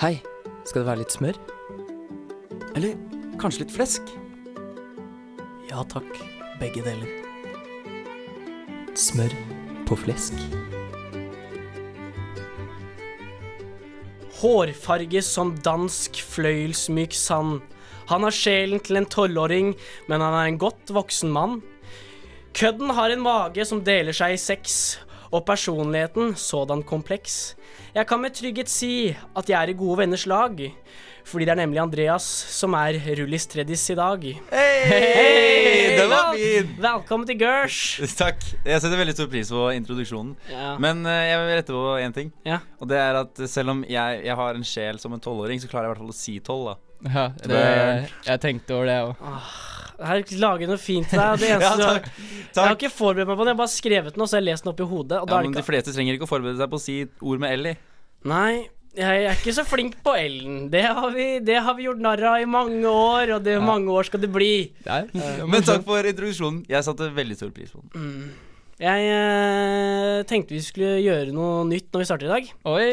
Hei, skal det være litt smør? Eller kanskje litt flesk? Ja takk, begge deler. Smør på flesk. Hårfarge som dansk fløyelsmyk sand. Han har sjelen til en tolvåring, men han er en godt voksen mann. Kødden har en mage som deler seg i seks, og personligheten sådan kompleks. Jeg kan med trygghet si at jeg er i gode venners lag, fordi det er nemlig Andreas som er rullis tredis i dag. Hei, den var fin! Velkommen til Gersh. Takk. Jeg setter veldig stor pris på introduksjonen. Ja. Men eh, jeg vil rette på én ting. Ja. Og det er at selv om jeg, jeg har en sjel som en tolvåring, så klarer jeg i hvert fall å si tolv, da. Ja, det, jeg tenkte over det òg. Her lager jeg noe fint til deg. og Det eneste Ja, du har- takk. Jeg har Takk. ikke forberedt meg på den, jeg har bare skrevet den, og så har jeg lest den opp i hodet. Og da Ja, er men det de ikke... fleste trenger ikke å forberede seg på å si ord med L i. Nei, jeg er ikke så flink på L-en. Det, har vi- det har vi gjort narr av i mange år, og det mange år skal det bli. Eh, Men takk for introduksjonen. Jeg satte veldig stor pris på Mm. den. Jeg eh, tenkte vi skulle gjøre noe nytt når vi starter i dag. Oi.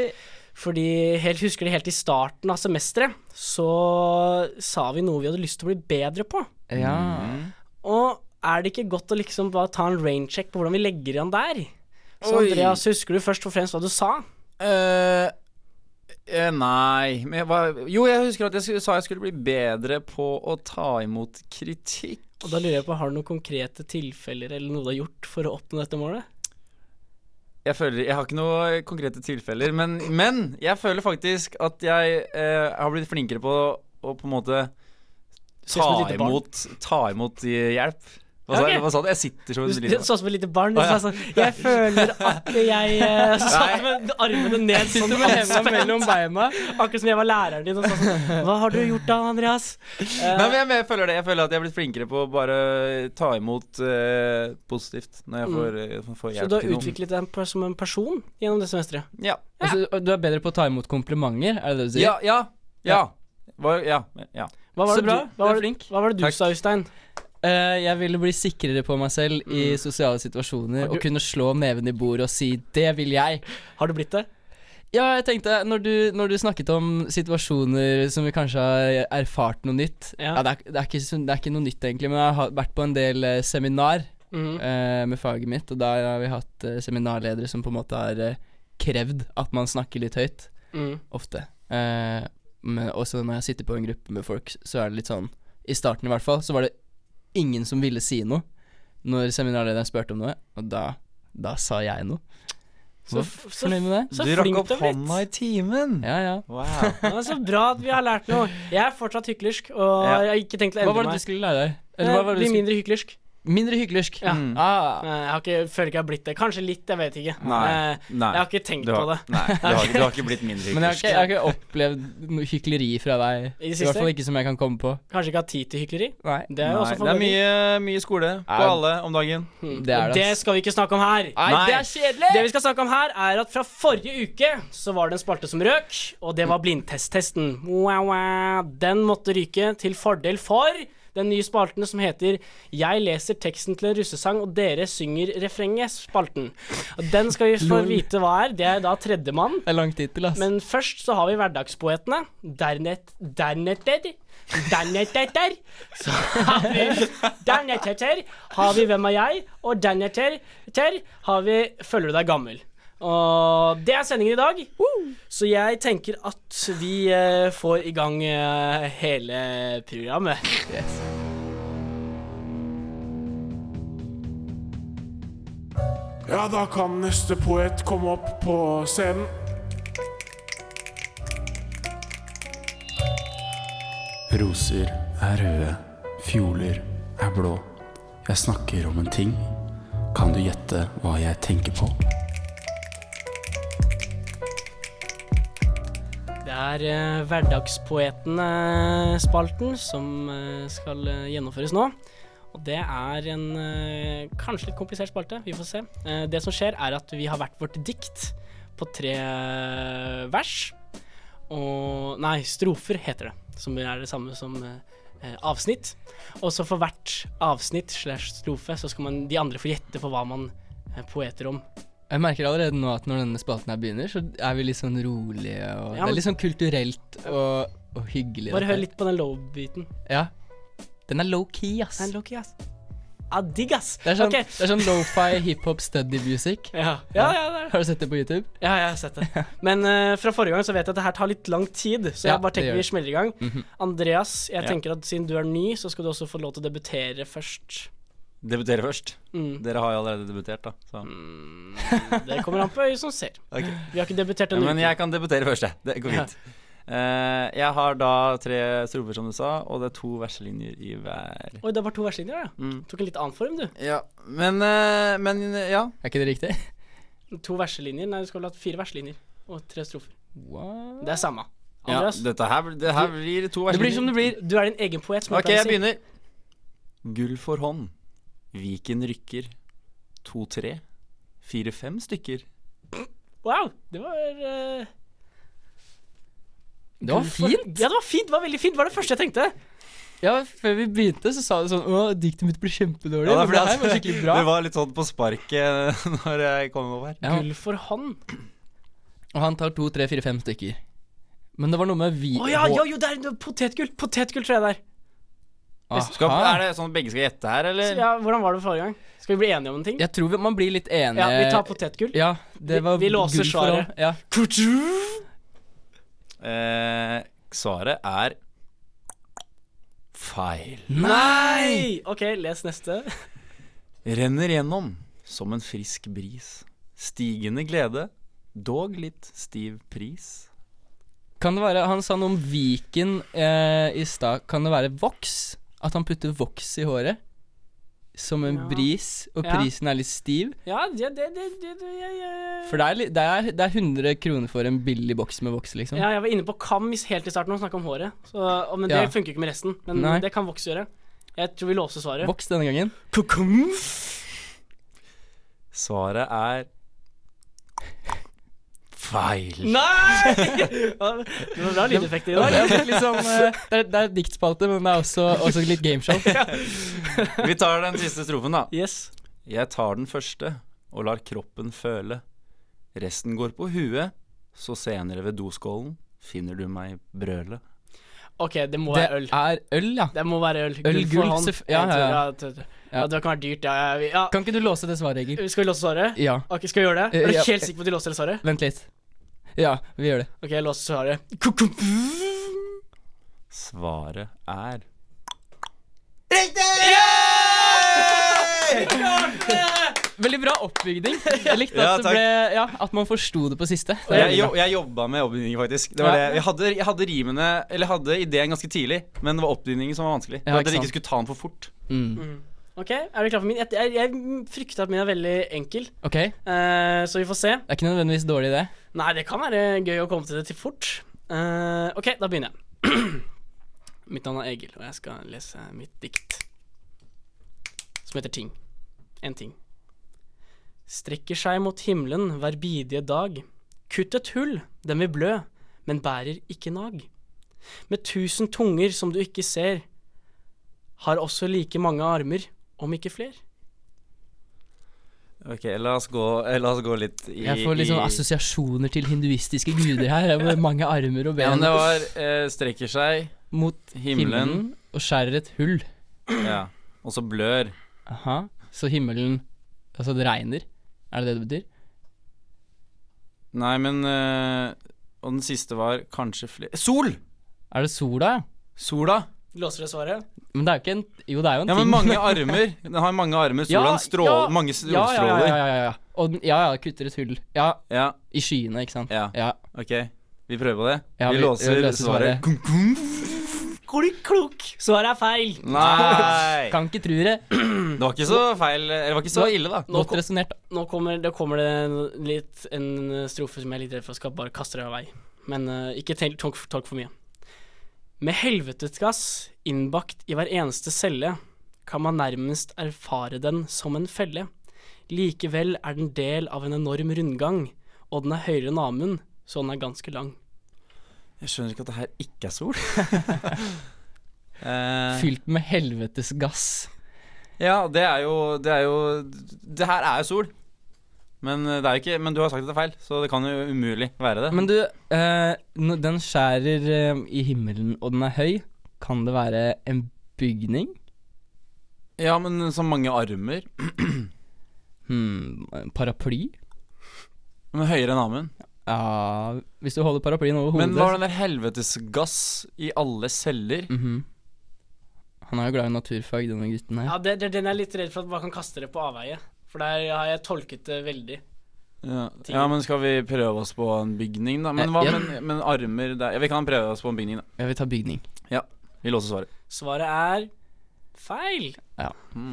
Fordi helt, husker du helt i starten av semesteret, så sa vi noe vi hadde lyst til å bli bedre på. Ja. Og er det ikke godt å liksom bare ta en raincheck på hvordan vi legger igjen der? Så Oi. Andreas, husker du først og fremst hva du sa? Eh, eh, nei men hva, Jo, jeg husker at jeg skulle- sa jeg skulle bli bedre på å ta imot kritikk. Og da lurer jeg på, har du noen konkrete tilfeller eller noe du har gjort for å oppnå dette målet? Jeg føler, jeg har ikke noen konkrete tilfeller, men, men jeg føler faktisk at jeg eh, har blitt flinkere på å, å på en måte Ser ut som et ta lite barn. imot, ta imot i hjelp. Hva sa, Ok. hva sa du? Jeg sitter som en Du liten du- sånn som et lite barn. Du Å, ja. sa sånn Jeg føler at jeg eh, Så satt Nei. du med armene ned sånn Sitter med hendene anspent. mellom beina. Akkurat som jeg var læreren din og sa sånn Hva har du gjort da, Andreas? Eh, Nei, men jeg, men jeg føler det. Jeg føler at jeg har blitt flinkere på å bare ta imot eh, positivt når jeg får, eh, får Mm. så hjelp du har til noen. utviklet deg per- som en person gjennom det semesteret? Ja. Altså, du er bedre på å ta imot komplimenter, er det det du sier? Ja, ja, ja. Hva- ja, ja. Hva var Så det Du, bra, du hva, er var, det- flink. hva var det du Takk. sa, Øystein? Eh, jeg ville bli sikrere på meg selv i sosiale situasjoner og kunne slå neven i bordet og si 'det vil jeg'. Har du blitt det? Ja, jeg tenkte, når du, når du snakket om situasjoner som vi kanskje har erfart noe nytt Ja. Ja, det, er, det, er ikke, så- det er ikke noe nytt egentlig, men jeg har vært på en del eh, seminar Mhm. eh, med faget mitt, og da har vi hatt eh, seminarledere som på en måte har eh, krevd at man snakker litt høyt, Mm. ofte. Eh, men også når jeg sitter på en gruppe med folk, så er det litt sånn, i starten i hvert fall, så var det ingen som ville si noe når seminarlederen spørte om noe, og da, da sa jeg noe. Så, Hvor f- så, fornøyd med det? så du rakk flink opp du har hånda i blitt. timen. Ja, ja. Wow. Ja, så bra at vi har lært noe. Jeg er fortsatt hyklersk, og Ja. jeg har ikke tenkt å Hva endre var det meg. du skulle lære deg? Eller hva var Eh, det du Bli skulle mindre hyklersk. Mindre hyklersk. Ja. Mm. Ah. Nei, Eh, Jeg har ikke, føler ikke jeg har blitt det. Kanskje litt, jeg vet ikke. Nei. Eh, Nei. Jeg har ikke tenkt Du har, på det. nei, du har, du har ikke blitt mindre Men jeg har, hyklersk. ikke, jeg har ikke opplevd noe hykleri fra deg. I det I siste? hvert fall ikke som jeg kan komme på. Kanskje ikke ha tid til hykleri. Nei. Det er jo Nei, også det er mye, mye skole på Ja. alle om dagen. Mm. Det er det, det ass. skal vi ikke snakke om her. Nei, Nei. det er kjedelig! Det vi skal snakke om her, er at fra forrige uke så var det en spalte som røk, og det var blindtesttesten. Wow, wow. Den måtte ryke til fordel for den nye spalten som heter 'Jeg leser teksten til en russesang, og dere synger refrenget'. spalten. Og Den skal vi få Lol. vite hva er. Det er da tredjemann. Det er lang tittel, ass. Men først så har vi hverdagspoetene. Dernet, dernetter Dernetter Så har vi Dernetter har vi Hvem er jeg? Og dernetter ter, har vi Føler du deg gammel? Og det er sendingen i dag. Så jeg tenker at vi eh, får i gang eh, hele programmet. Yes. Ja, da kan neste poet komme opp på scenen. Roser er røde, fjoler er blå. Jeg snakker om en ting. Kan du gjette hva jeg tenker på? Det er eh, Hverdagspoetene-spalten som eh, skal eh, gjennomføres nå. Og det er en eh, kanskje litt komplisert spalte, vi får se. Eh, det som skjer, er at vi har hvert vårt dikt på tre eh, vers. Og Nei, strofer heter det, som er det samme som eh, eh, avsnitt. Og så for hvert avsnitt slash strofe, så skal man, de andre få gjette på hva man eh, poeter om Jeg merker allerede nå at når denne spalten her begynner, så er vi litt sånn rolige og Ja, Det men- er litt sånn kulturelt og, og hyggelig. Bare dette hør her. litt på den low-biten. Ja. Den er low-key, ass. Den er low-key, ass. Ja, digg, ass. Det er sånn, Ok. det er sånn lo-fi hiphop study music. Ja, ja, ja, det er det. Har du sett det på YouTube? ja, jeg har sett det. Men eh, fra forrige gang så vet jeg at det her tar litt lang tid, så Ja, jeg bare det gjør tenker vi det. smeller i gang. Mhm. Andreas, jeg Ja. tenker at siden du er ny, så skal du også få lov til å debutere først. Debutere først. Mm. Dere har jo allerede debutert, da. Så. Mm. Det kommer an på øyet som ser. Vi har ikke debutert Ja, ennå. Mm. men jeg kan debutere først, jeg. Det går fint. Eh, jeg har da tre strofer, som du sa, og det er to verselinjer i hver. Oi, det er bare to verslinjer, ja. Tok en litt annen form, du. Ja, men, eh, men ja. Er ikke det riktig? To verselinjer. Nei, du skulle hatt fire verselinjer og tre strofer. What? Det er samme. ja. Andreas, Dette her, det her blir to Det blir verselinjer. som det blir. du er din egen poet, som Ok, pleier å jeg si. begynner. Gull for hånd. Viken rykker. To-tre. Fire-fem stykker. Wow, det var eh, Det var fint. Ja, det var fint. Det var veldig fint. Det var det første jeg tenkte. Ja, før vi begynte, så sa du sånn Å, diktet mitt blir kjempedårlig. Ja, det er men det fordi her at var skikkelig bra. Det var litt sånn på sparket når jeg kom over her. Ja, Gull for hånd. og han tar to, tre, fire, fem stykker. Men det var noe med vi... Å ja, ja, jo, det er potetgull. Potetgull tror jeg det er. Skal, Aha. er det sånn at begge skal gjette her, Så, eller? Ja, hvordan var det forrige gang? Skal vi bli enige om en ting? Jeg tror vi, man blir litt enig. eh, Ja, vi tar potetgull. Ja, det Vi- var vi låser gull for svaret. hånd. Ja. Eh, svaret er feil. Nei! Hei! OK, les neste. Renner gjennom som en frisk bris. Stigende glede, dog litt stiv pris. Kan det være Han sa noe om Viken eh, i stad. Kan det være voks? At han putter voks i håret? Som en Ja. bris, og Ja. prisen er litt stiv? Ja, det, det, det, det, det jeg, jeg- For det er, li- det, er, det er 100 kroner for en billig boks med voks, liksom. Ja, jeg var inne på kam i- helt i starten og snakka om håret. Så, og, men det Ja. funker ikke med resten. Men Nei. det kan Vox gjøre. Jeg tror vi låser svaret. Voks denne gangen. Svaret er feil. Nei! Ja, det var bra lydeffekter i Ja, det, dag. er litt sånn, eh, det, er, det er diktspalte, men det er også, også litt gameshow. Vi tar den siste strofen, da. Yes. Jeg tar den første og lar kroppen føle. Resten går på huet, så senere ved doskålen finner du meg brøle. OK, det må Det være øl. er øl, ja. Det må være øl. gull, for hånd. selvfø- ja, Jeg tror- ja, ja. jeg tror- ja, Det kan være dyrt. Ja, ja, vi- ja. Kan ikke du låse det svaret, Egil? Skal vi låse svaret? Ja. Ok, Skal vi gjøre det? Eh, Er du ja. helt sikker på at de låser det svaret? Vent litt. Ja, vi gjør det. Ok, jeg låser svaret. Kukum. Svaret er Veldig bra oppbygning. Jeg likte Ja, at, det takk. ble, ja, at man forsto det på siste. Det er Jeg, veldig jo, bra. jeg jobba med oppbygningen, faktisk. Det var Ja. det. Jeg, hadde, jeg hadde rimene Eller jeg hadde ideen ganske tidlig, men det var oppbygningen som var vanskelig. Ja, For ikke at dere sant. ikke skulle ta den for fort. Mm. Ok, Er du klar for min? Jeg, jeg, jeg frykter at min er veldig enkel, Ok, det Eh, så vi får se. er ikke nødvendigvis dårlig idé. Nei, det kan være gøy å komme til det til fort. Eh, ok, da begynner jeg. mitt navn er Egil, og jeg skal lese mitt dikt. Som heter Ting. En ting. Strekker seg mot himmelen hver bidige dag. Kutt et hull, den vil blø, men bærer ikke nag. Med tusen tunger som du ikke ser, har også like mange armer, om ikke fler. Ok, la oss gå, eh, la oss gå litt i Jeg får litt sånn i- assosiasjoner til hinduistiske guder her. Med mange armer og Ja, men ben det var eh, strekker seg, mot himmelen, himmelen og skjærer et hull. Ja, og så blør. Aha. Så himmelen Altså, det regner. Er det det det betyr? Nei, men eh, Og den siste var kanskje flere Sol! Er det sola? ja? Sola. Låser det svaret? Men det er jo ikke en Jo, det er jo en Ja, men ting. mange armer. Den har mange armer. Ja, Sola stråler. ja, mange ja, ja, solstråler. ja, Ja, ja, ja, ja. Og den, ja, ja, kutter et hull. Ja, i skyene, ikke sant. Ja. ja. ok. Vi prøver på det. Ja, vi, vi- låser vi løser svaret. svaret. Kum, kum. Klokk, klokk! Svaret er feil. Nei! Kan ikke tru det. Det var ikke så feil Eller det var ikke så ille, da. Godt resonnert, da. Nå kommer, da kommer det en litt, en strofe som jeg er litt redd for skal bare kaste deg av vei. Men eh, ikke tenk, tolk, tolk for mye. Med helvetesgass innbakt i hver eneste celle kan man nærmest erfare den som en felle. Likevel er den del av en enorm rundgang, og den er høyere enn Amund, så den er ganske lang. Jeg skjønner ikke at det her ikke er sol. Eh, Fylt med helvetes gass. ja, det er jo Det er jo Det her er jo sol. Men, eh, det er jo ikke, men du har sagt at det er feil, så det kan jo umulig være det. Men du, eh, når den skjærer eh, i himmelen, og den er høy, kan det være en bygning? ja, men så mange armer. Hmm, en paraply? Men høyere enn armen. Ja, hvis du holder paraplyen over hodet Men hva er den der helvetesgass i alle celler? Mhm. Han er jo glad i naturfag, denne gutten her. Ja, det, det, den er jeg litt redd for at man kan kaste det på avveie. For der har jeg tolket det veldig. Ja. ja, men skal vi prøve oss på en bygning, da? Men, Eh, hva, ja. men, men armer der Ja, vi kan prøve oss på en bygning, da. Jeg vil ta bygning. Vi låser svaret. Svaret er feil.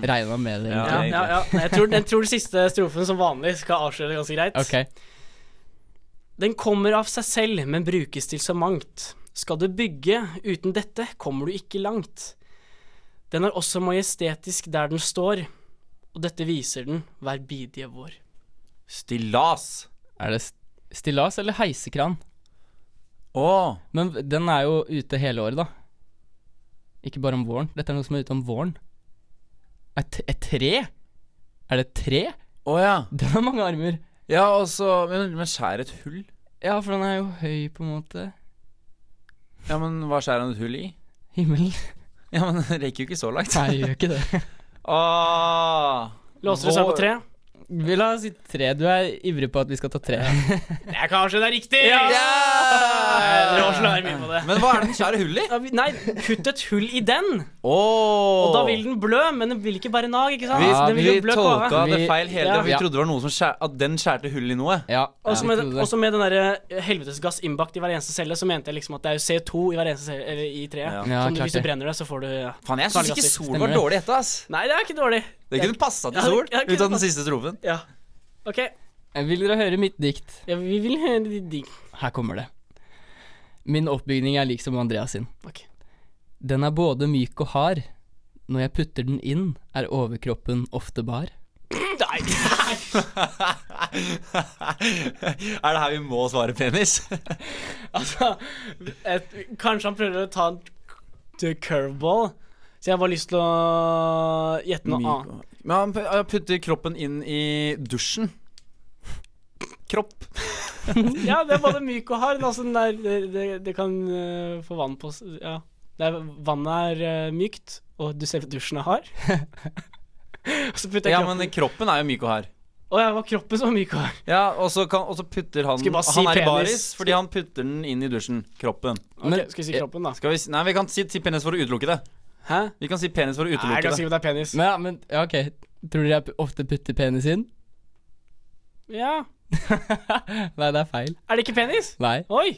Regna med det. Ja, Ja, egentlig. ja, ja. Jeg, tror, jeg tror den siste strofen som vanlig skal avsløre ganske greit. Ok. Den kommer av seg selv, men brukes til så mangt. Skal du bygge uten dette, kommer du ikke langt. Den er også majestetisk der den står, og dette viser den hver bidige vår. Stillas. Er det st- stillas eller heisekran? Å! Men v- den er jo ute hele året, da. Ikke bare om våren. Dette er noe som er ute om våren. Et, t- et tre? Er det et tre? Å ja. Den har mange armer. Ja, og så Men, men skjær et hull? Ja, for den er jo høy, på en måte. Ja, men hva skjærer han et hull i? Himmelen. Ja, men det rekker jo ikke så langt. Nei, gjør ikke det. Ah, Låser du seg på tre? Vi la oss si tre. Du er ivrig på at vi skal ta tre. Det er kanskje det er riktig! Ja! Dere slår mye på det. Men hva er det den skjærer hull i? Ja, vi- Nei, kutt et hull i den, Oh. og da vil den blø, men den vil ikke bære nag, ikke sant? vi, Ja, den vil vi jo blø kåre. tolka det Vi- feil hele Ja. tiden. Vi Ja. trodde det var noe som skjær, at den skjærte hull i noe. Ja. Også med, jeg trodde det. også med den der eh, helvetesgass innbakt i hver eneste celle, så mente jeg liksom at det er jo CO2 i hver eneste celle, eller i treet. Ja. Ja, Som du- klart hvis du det. brenner det, så får du ja. Faen, jeg syns ikke Fargegasser. Sol Stemmer var det. dårlig hetta, ass. Nei, det er ikke dårlig. Det kunne passa til Ja, Sol ja, ut av den siste strofen. Ja. OK. Vil dere høre mitt dikt? Ja, vi vil høre de digg. Her kommer det. Min oppbygning er lik som Andreas sin. Ok. Den er både myk og hard. Når jeg putter den inn, er overkroppen ofte bar. Nei. er det her vi må svare penis? altså et, Kanskje han prøver å ta en the curveball. Så jeg har bare lyst til å gjette noe annet. Men han pu- han putter kroppen inn i dusjen. Kropp. Ja, det er både myk og hard. men Altså, den der, det, det, det kan eh, få vann på s- Ja. Det er, vannet er eh, mykt, og du selve dusjen er hard. og så putter jeg Ja, kroppen men kroppen er jo myk og hard. Å ja, det var kroppen som var myk og hard. Ja, og så kan- og så putter han Skal vi bare si Han er i penis? baris fordi han putter den inn i dusjen. Kroppen. Ok, Men- skal vi si kroppen, da? Skal vi, si- nei, vi kan si, si penis for å utelukke det. Hæ? Vi kan si penis for å Nei, jeg utelukke kan det. si at det er penis. Men ja, men ja, ok. Tror dere jeg pu- ofte putter penis inn? Ja. Nei, det er feil. Er det ikke penis? Nei. Oi!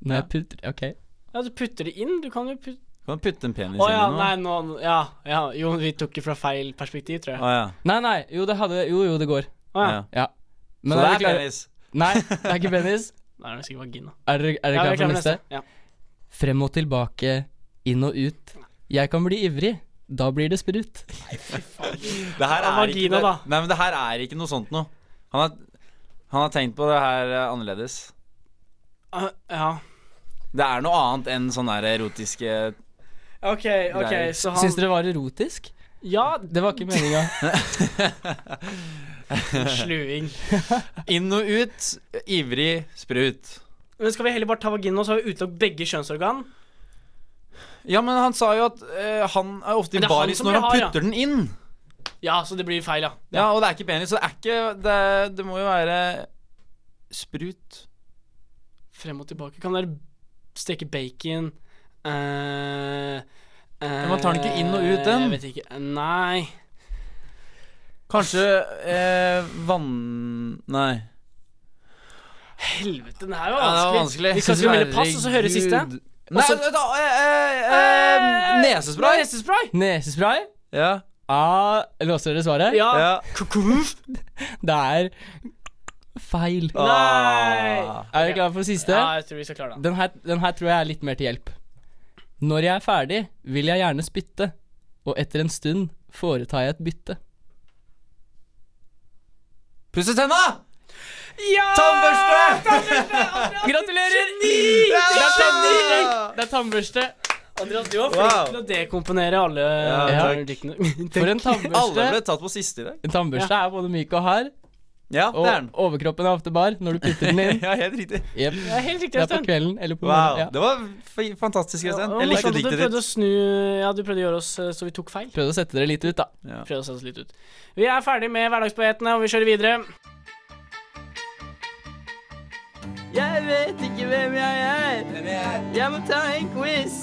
Når jeg putter Ok. Ja, du putter det inn. Du kan jo putte Kan du putte en penis Å ja, inn i noe? nei, nå Ja, ja. Jo, vi tok det fra feil perspektiv, tror jeg. Å, ja. Nei, nei. Jo, det hadde Jo, jo, det går. Å ja. Ja. Ah, Ja. Men Så det er dere klare- penis. Nei, det er ikke penis. Nei, det er sikkert vagina. Er dere, er dere Ja, vi klare er for klar neste? Ja. Frem og tilbake, inn og ut. Jeg kan bli ivrig. Da blir det sprut. Det her Ja, er vagina, ikke det. da. Nei, men det her er ikke noe sånt noe. Han har, han har tenkt på det her eh, annerledes. Ah, ja. Det er noe annet enn sånne her erotiske OK, OK, Greier. så han Syns dere det var erotisk? Ja, Det var ikke meninga. sluing. Inn og ut, ivrig, sprut. Men skal vi heller bare ta vagina, og så har vi utelukket begge kjønnsorgan? Ja, men han sa jo at eh, han er ofte Men i det er han baris som når blir han hard, ja. putter den inn. Ja, så det blir feil, ja. Ja, og det er ikke penis, så det er ikke Det, det må jo være sprut. Frem og tilbake. Kan dere steke bacon eh, eh, man tar den ikke inn og ut, den. Jeg vet ikke. Nei. Kanskje eh, vann... Nei. Helvete, den her Ja, det var var vanskelig. vanskelig. Vi skal skrive melde pass, og så høre siste. Herregud. Nei, Også- vent da, eh, eh, eh, Nesespray. Nesespray. Nesespray? Ja. Ah, låser dere svaret? Ja. ja. Det er feil. Nei. Ah. Er dere klare for siste? Ja, jeg tror vi skal klare det. Den, her, den her tror jeg er litt mer til hjelp. Når jeg er ferdig, vil jeg gjerne spytte, og etter en stund foretar jeg et bytte. Pusse tenna! Ja! Tannbørste! Gratulerer! Ja! Det er tannbørste! Det er tannbørste. Andreas, du var flink Wow. til å dekomponere alle Ja, takk. diktene. For en Alle tannbørste. ble tatt på siste i dag. En tannbørste er både myk og hard. Ja, Og det er den. overkroppen er ofte bar når du putter den inn. Ja, helt riktig. Jep. Det er helt riktig, Det er på Øystein. kvelden eller på Wow. morgenen. Ja. Det var f- fantastisk, Øystein. Ja, Jeg likte morsomt at Du diktet prøvde å ditt. snu Ja, du prøvde å gjøre oss eh, så vi tok feil. Prøvde å sette dere litt ut, da. Ja. Prøvde å sette oss litt ut. Vi er ferdig med hverdagspoetene, og vi kjører videre. Jeg vet ikke hvem jeg er. Jeg må ta en quiz.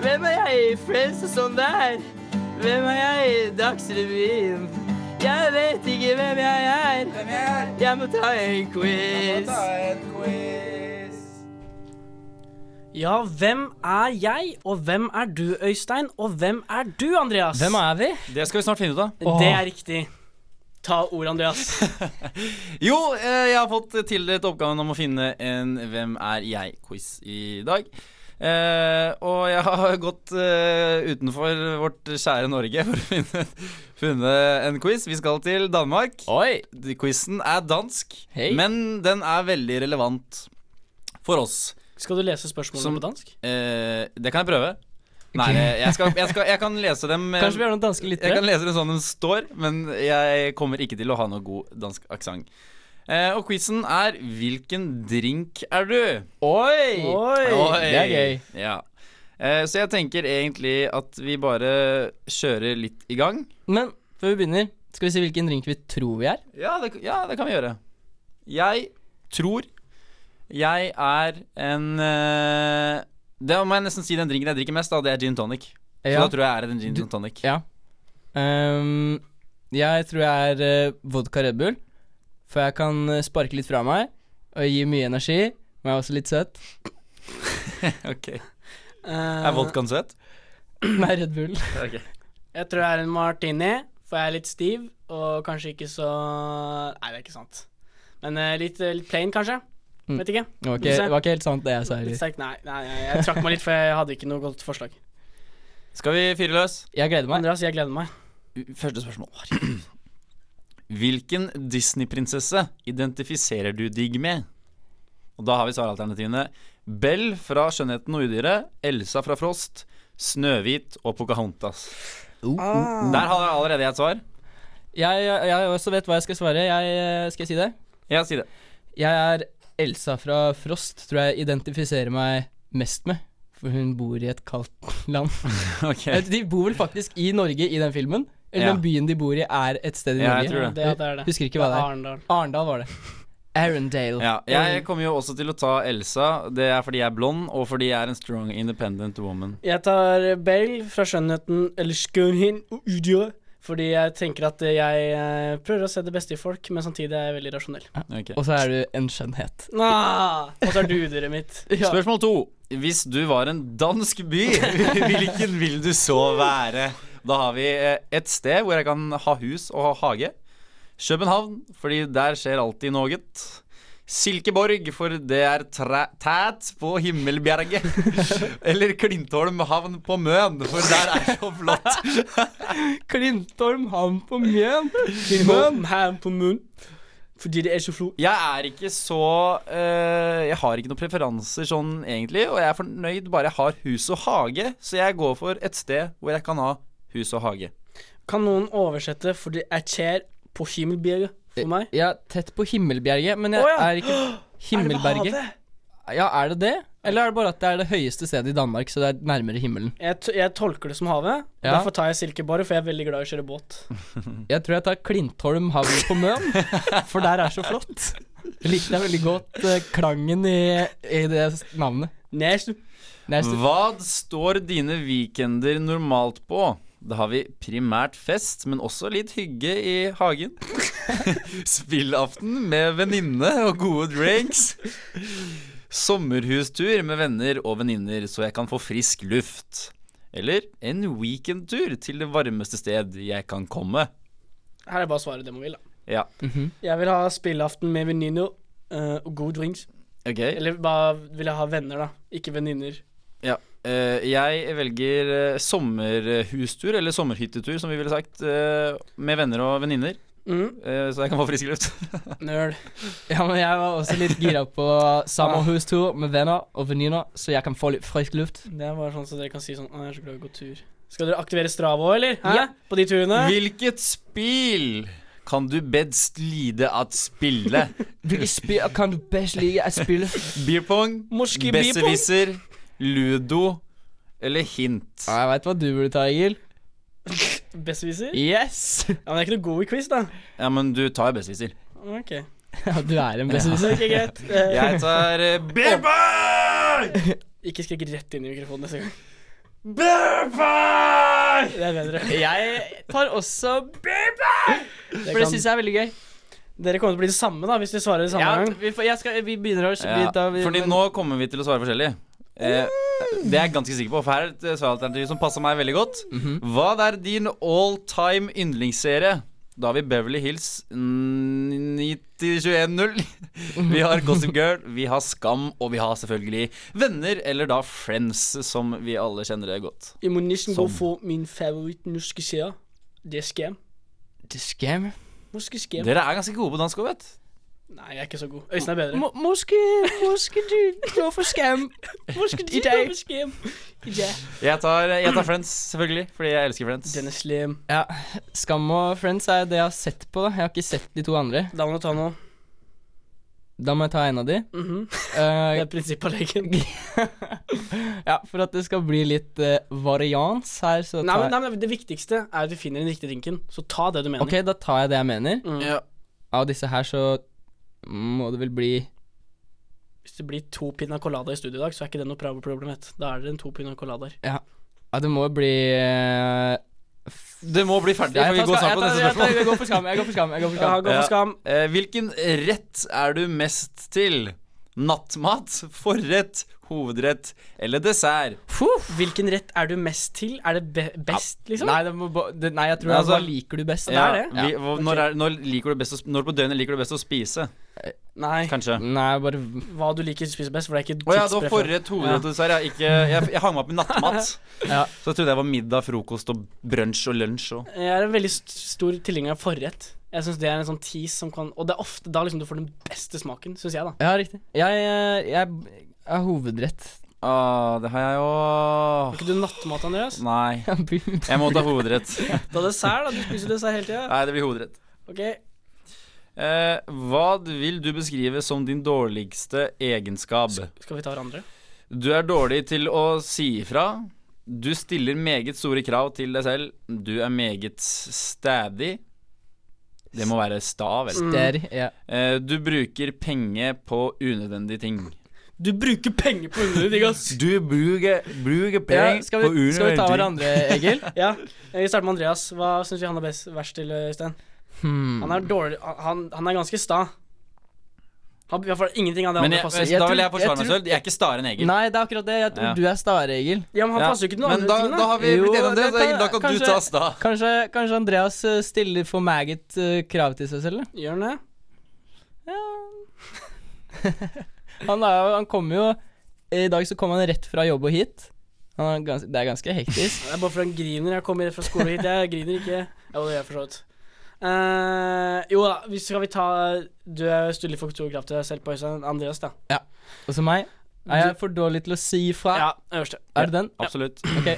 Hvem er jeg i Friends og sånn der? Hvem er jeg i Dagsrevyen? Jeg vet ikke hvem jeg er. Jeg må ta en quiz. Ja, hvem er jeg, og hvem er du, Øystein, og hvem er du, Andreas? Hvem er vi? Det skal vi snart finne ut av. Det er riktig. Ta ordet, Andreas. Jo, eh, jeg har fått tildelt oppgaven om å finne en Hvem er jeg-quiz i dag. Eh, og jeg har gått eh, utenfor vårt kjære Norge for å finne, finne en quiz. Vi skal til Danmark. Oi! Quizen er dansk, Hei. men den er veldig relevant for oss. Skal du lese spørsmålene Som- på dansk? Eh, det kan jeg prøve. Nei, jeg, skal, jeg, skal, jeg kan lese dem eh, Kanskje vi har noen danske Jeg kan lyttere? lese det sånn den står, men jeg kommer ikke til å ha noe god dansk aksent. Eh, og quizen er 'Hvilken drink er du?' Oi! Oi. Det er gøy. Ja. Eh, så jeg tenker egentlig at vi bare kjører litt i gang. Men før vi begynner, skal vi si hvilken drink vi tror vi er? Ja, det, ja, det kan vi gjøre. Jeg tror jeg er en eh, Det må jeg nesten si den drinken jeg drikker mest, da. Det er gin tonic. Så da tror jeg jeg er en Du- gin tonic. Ja. Ehm, jeg tror jeg er eh, vodka Red Bull, for jeg kan eh, sparke litt fra meg og gi mye energi, men jeg er også litt søt. Ok. Uh, Er vodkaen søt? Nei, Red Bull. Ok. Jeg tror jeg er en martini, for jeg er litt stiv og kanskje ikke så Nei, det er ikke sant. Men eh, litt, eh, litt plain, kanskje. Mm. Vet ikke. Det var ikke, det var ikke helt sant, det jeg sa Litt heller. sterk. Nei, nei, nei, jeg trakk meg litt, for jeg hadde ikke noe godt forslag. Skal vi fyre løs? Jeg gleder meg. Andreas, jeg gleder meg. Første spørsmål var Hvilken Disney-prinsesse identifiserer du digg med? Og da har vi svaralternativene Bell fra Skjønnheten og udyret, Elsa fra Frost, Snøhvit og Pocahontas. Der har jeg allerede et svar. Jeg, jeg, jeg også vet hva jeg skal svare. Jeg, eh, skal jeg si det? Ja, si det. Jeg er Elsa fra Frost, tror jeg identifiserer meg mest med. For hun bor i et kaldt land. Ok. Eh, De bor vel faktisk i Norge i den filmen? Eller Ja. den byen de bor i, er et sted i Ja, jeg Norge? tror det. Eh, Det, det er det. Husker ikke hva det er. Arendal. Arendal var det. Arendale. Ja, jeg kommer jo også til å ta Elsa. Det er fordi jeg er blond, og fordi jeg er en strong, independent woman. Jeg tar Bell fra Skjønnheten eller Skønhin og Udyret. Fordi jeg tenker at jeg eh, prøver å se det beste i folk, men samtidig er jeg veldig rasjonell. Ok. Og så er du en skjønnhet. Ah, og så er du udyret mitt. Spørsmål to. Hvis du var en dansk by, hvilken vil du så være? Da har vi eh, et sted hvor jeg kan ha hus og ha hage. København, fordi der skjer alltid noe. Silkeborg, for det er træ- tæt på Himmelbjerget. Eller Klintholm havn på Møn, for der er så flott. Klintholm havn på Mjøen. Mum, ham på munn. Fordi det er så flo... Jeg er ikke så eh, Jeg har ikke noen preferanser sånn egentlig, og jeg er fornøyd bare jeg har hus og hage, så jeg går for et sted hvor jeg kan ha hus og hage. Kan noen oversette 'fordi jeg ser på himmelbjerget' for meg? Ja, tett på Himmelbjerget, men jeg Å, ja. er ikke Himmelberget. ja, er det det? Eller er det bare at det er det høyeste stedet i Danmark, så det er nærmere himmelen? Jeg, t jeg tolker det som havet. og Ja. Derfor tar jeg Silkeborg, for jeg er veldig glad i å kjøre båt. Jeg tror jeg tar Klintholm havn på Møn, for der er så flott. Jeg likte jeg veldig godt eh, klangen i, i det s- navnet. Næstu. Neste. Hva står dine weekender normalt på? Da har vi primært fest, men også litt hygge i hagen. Spillaften med venninne og gode drinks. Sommerhustur med venner og venninner, så jeg kan få frisk luft. Eller en weekendtur til det varmeste sted jeg kan komme. Her er bare svaret det man vil, da. Ja, Jeg vil ha spillaften med venninner eh, og god drinks. ok. Eller bare vil jeg ha venner, da. Ikke venninner. Ja. eh, jeg velger eh, sommerhustur, eller sommerhyttetur, som vi ville sagt, eh, med venner og venninner. Mm, Eh, Så jeg kan få frisk luft. nerd. Ja, men jeg var også litt gira på Ah. sommerhustur med venner og venninner, så jeg kan få litt frisk luft. Det er bare sånn så dere kan si sånn Å, jeg er så glad i å gå tur. Skal dere aktivere Strava òg, eller? Hæ? Ja. På de turene? Hvilket spill Kan du bedst lide at spille? Kan du best like å spille Beer pong, Morske bipong. besserwisser, ludo eller hint? Jeg veit hva du burde ta, Egil. Besserwisser? Yes! Ja, men jeg er ikke noe god i quiz, da. Ja, men du tar besserwisser. Ok. Ja, du er en Så det besserwisser. er ikke greit. Eh, Jeg tar eh, beer pong! Ikke skrik rett inn i mikrofonen neste gang. Beer pong! Det er bedre. Jeg tar også Det For det kan- syns jeg er veldig gøy. Dere kommer til å bli det samme, da, hvis dere svarer det samme Ja, gang. vi, får, jeg skal, vi begynner å vi, Ja, da, vi, fordi nå kommer vi til å svare forskjellig. Eh, det er jeg ganske sikker på, for her er et eh, svaralternativ som passer meg veldig godt. Mhm. Hva er din all time yndlingsserie? Da har vi Beverly Hills mm, 9021.0. Mhm. Vi har Gossip Girl, vi har Skam, og vi har selvfølgelig Venner, eller da Friends, som vi alle kjenner det godt. Jeg må nesten gå Sånn. for min favoritt norske serie. Det er Skam. Det skrem. Norske Skam. Dere er ganske gode på dansk òg, vet Nei, jeg er ikke så god. Øystein er bedre. Må- Måske, måske du går for skam Morske I dag. Skam. I dag. Jeg tar, jeg tar Friends, selvfølgelig, fordi jeg elsker Friends. Den er slem. Ja, Skam og Friends er det jeg har sett på. da Jeg har ikke sett de to andre. Da må du ta noe. Da må jeg ta en av de. Mhm. Det Eh, er prinsippavleggen. ja, For at det skal bli litt eh, varians her, så Nei, tar men, jeg nei, men det viktigste er at du finner den riktige drinken. Så ta det du mener. Ok, da tar jeg det jeg mener. Mm. Ja. Av disse her så må det vel bli Hvis det blir to pina colada i studio i dag, så er ikke det noe prob- problem. vet du. Da er det en to pina coladaer. Ja, det må jo bli eh, f- Det må bli ferdig, for Jeg vi tar går Skam- snart på jeg neste tar- jeg tar- spørsmål. Jeg går for skam. Jeg går for skam. Jeg går Ja, for skam. gå for Ja. skam. Eh, hvilken rett er du mest til? Nattmat, forrett, hovedrett eller dessert? Hvilken rett er du mest til? Er det be best, liksom? Nei, det må, ba- det, nei, jeg tror Altså- altså, hva liker du best? Ja. det er Vi, hva- når, er, når, liker du best å, sp- når på døgnet liker du best å spise? Nei. Kanskje. Nei, bare Hva du liker å spise best, for det er ikke Å ja, det var tidspreferanse. forrett, hovedrett og dessert. ja, ikke, jeg, jeg hang meg opp i nattmat. Ja. Så jeg trodde jeg var middag, frokost og brunsj og lunsj og Jeg er en veldig st stor tilhenger av forrett. Jeg synes det er en sånn tease som kan Og det er ofte da liksom du får den beste smaken, syns jeg, da. Ja, riktig. Jeg, eh, jeg er hovedrett. ah, Det har jeg Har jo ikke du nattmat, Andreas? Nei. Jeg Jeg må ta hovedrett. Da er dessert, da. Du spiser dessert hele tida. Nei, det blir hovedrett. Ok. Eh, hva vil du beskrive som din dårligste egenskap? Skal vi ta hverandre? Du er dårlig til å si ifra. Du stiller meget store krav til deg selv. Du er meget stadig. Det må være sta, vel. Der, ja. Eh, Du bruker penger på unødvendige ting. Du bruker penger på hundene dine, ass. Du bruker, bruker ja penger skal, på vi, unødvendige skal vi ta ting. hverandre, Egil? Ja, vi starter med Andreas. Hva syns vi han er best, verst til, eh, Øystein? Hmm. Han er dårlig Han, han er ganske sta. Han, I hvert fall ingenting av det Men andre jeg, passer. da tror- vil jeg forsvare jeg meg selv. Jeg er ikke stare enn Egil. Nei, det er akkurat det. Jeg tror Ja. du er stare, Egil. Ja, men han Ja, passer jo ikke til noen Men andre da, ting, da da. har vi Jo, blitt enige om det, det så kan- Egil, da kan kanskje- du ta sta. Kanskje, kanskje Andreas eh, stiller for meget eh, krav til seg selv? da? Gjør han det? Han, er, jo- han kommer jo eh, I dag så kom han rett fra jobb og hit. Han er gans, det er ganske hektisk. Det er bare fordi han griner. Jeg kommer fra skole hit. Jeg griner ikke. Jo, det gjør jeg for så vidt. Eh, jo da, hvis skal vi ta eh, Du er stille for stor kraft til deg selv på Øystein. Andreas, da. Og så meg. Er jeg for dårlig til å si fra? Ja, øverste. Er det den? Absolutt.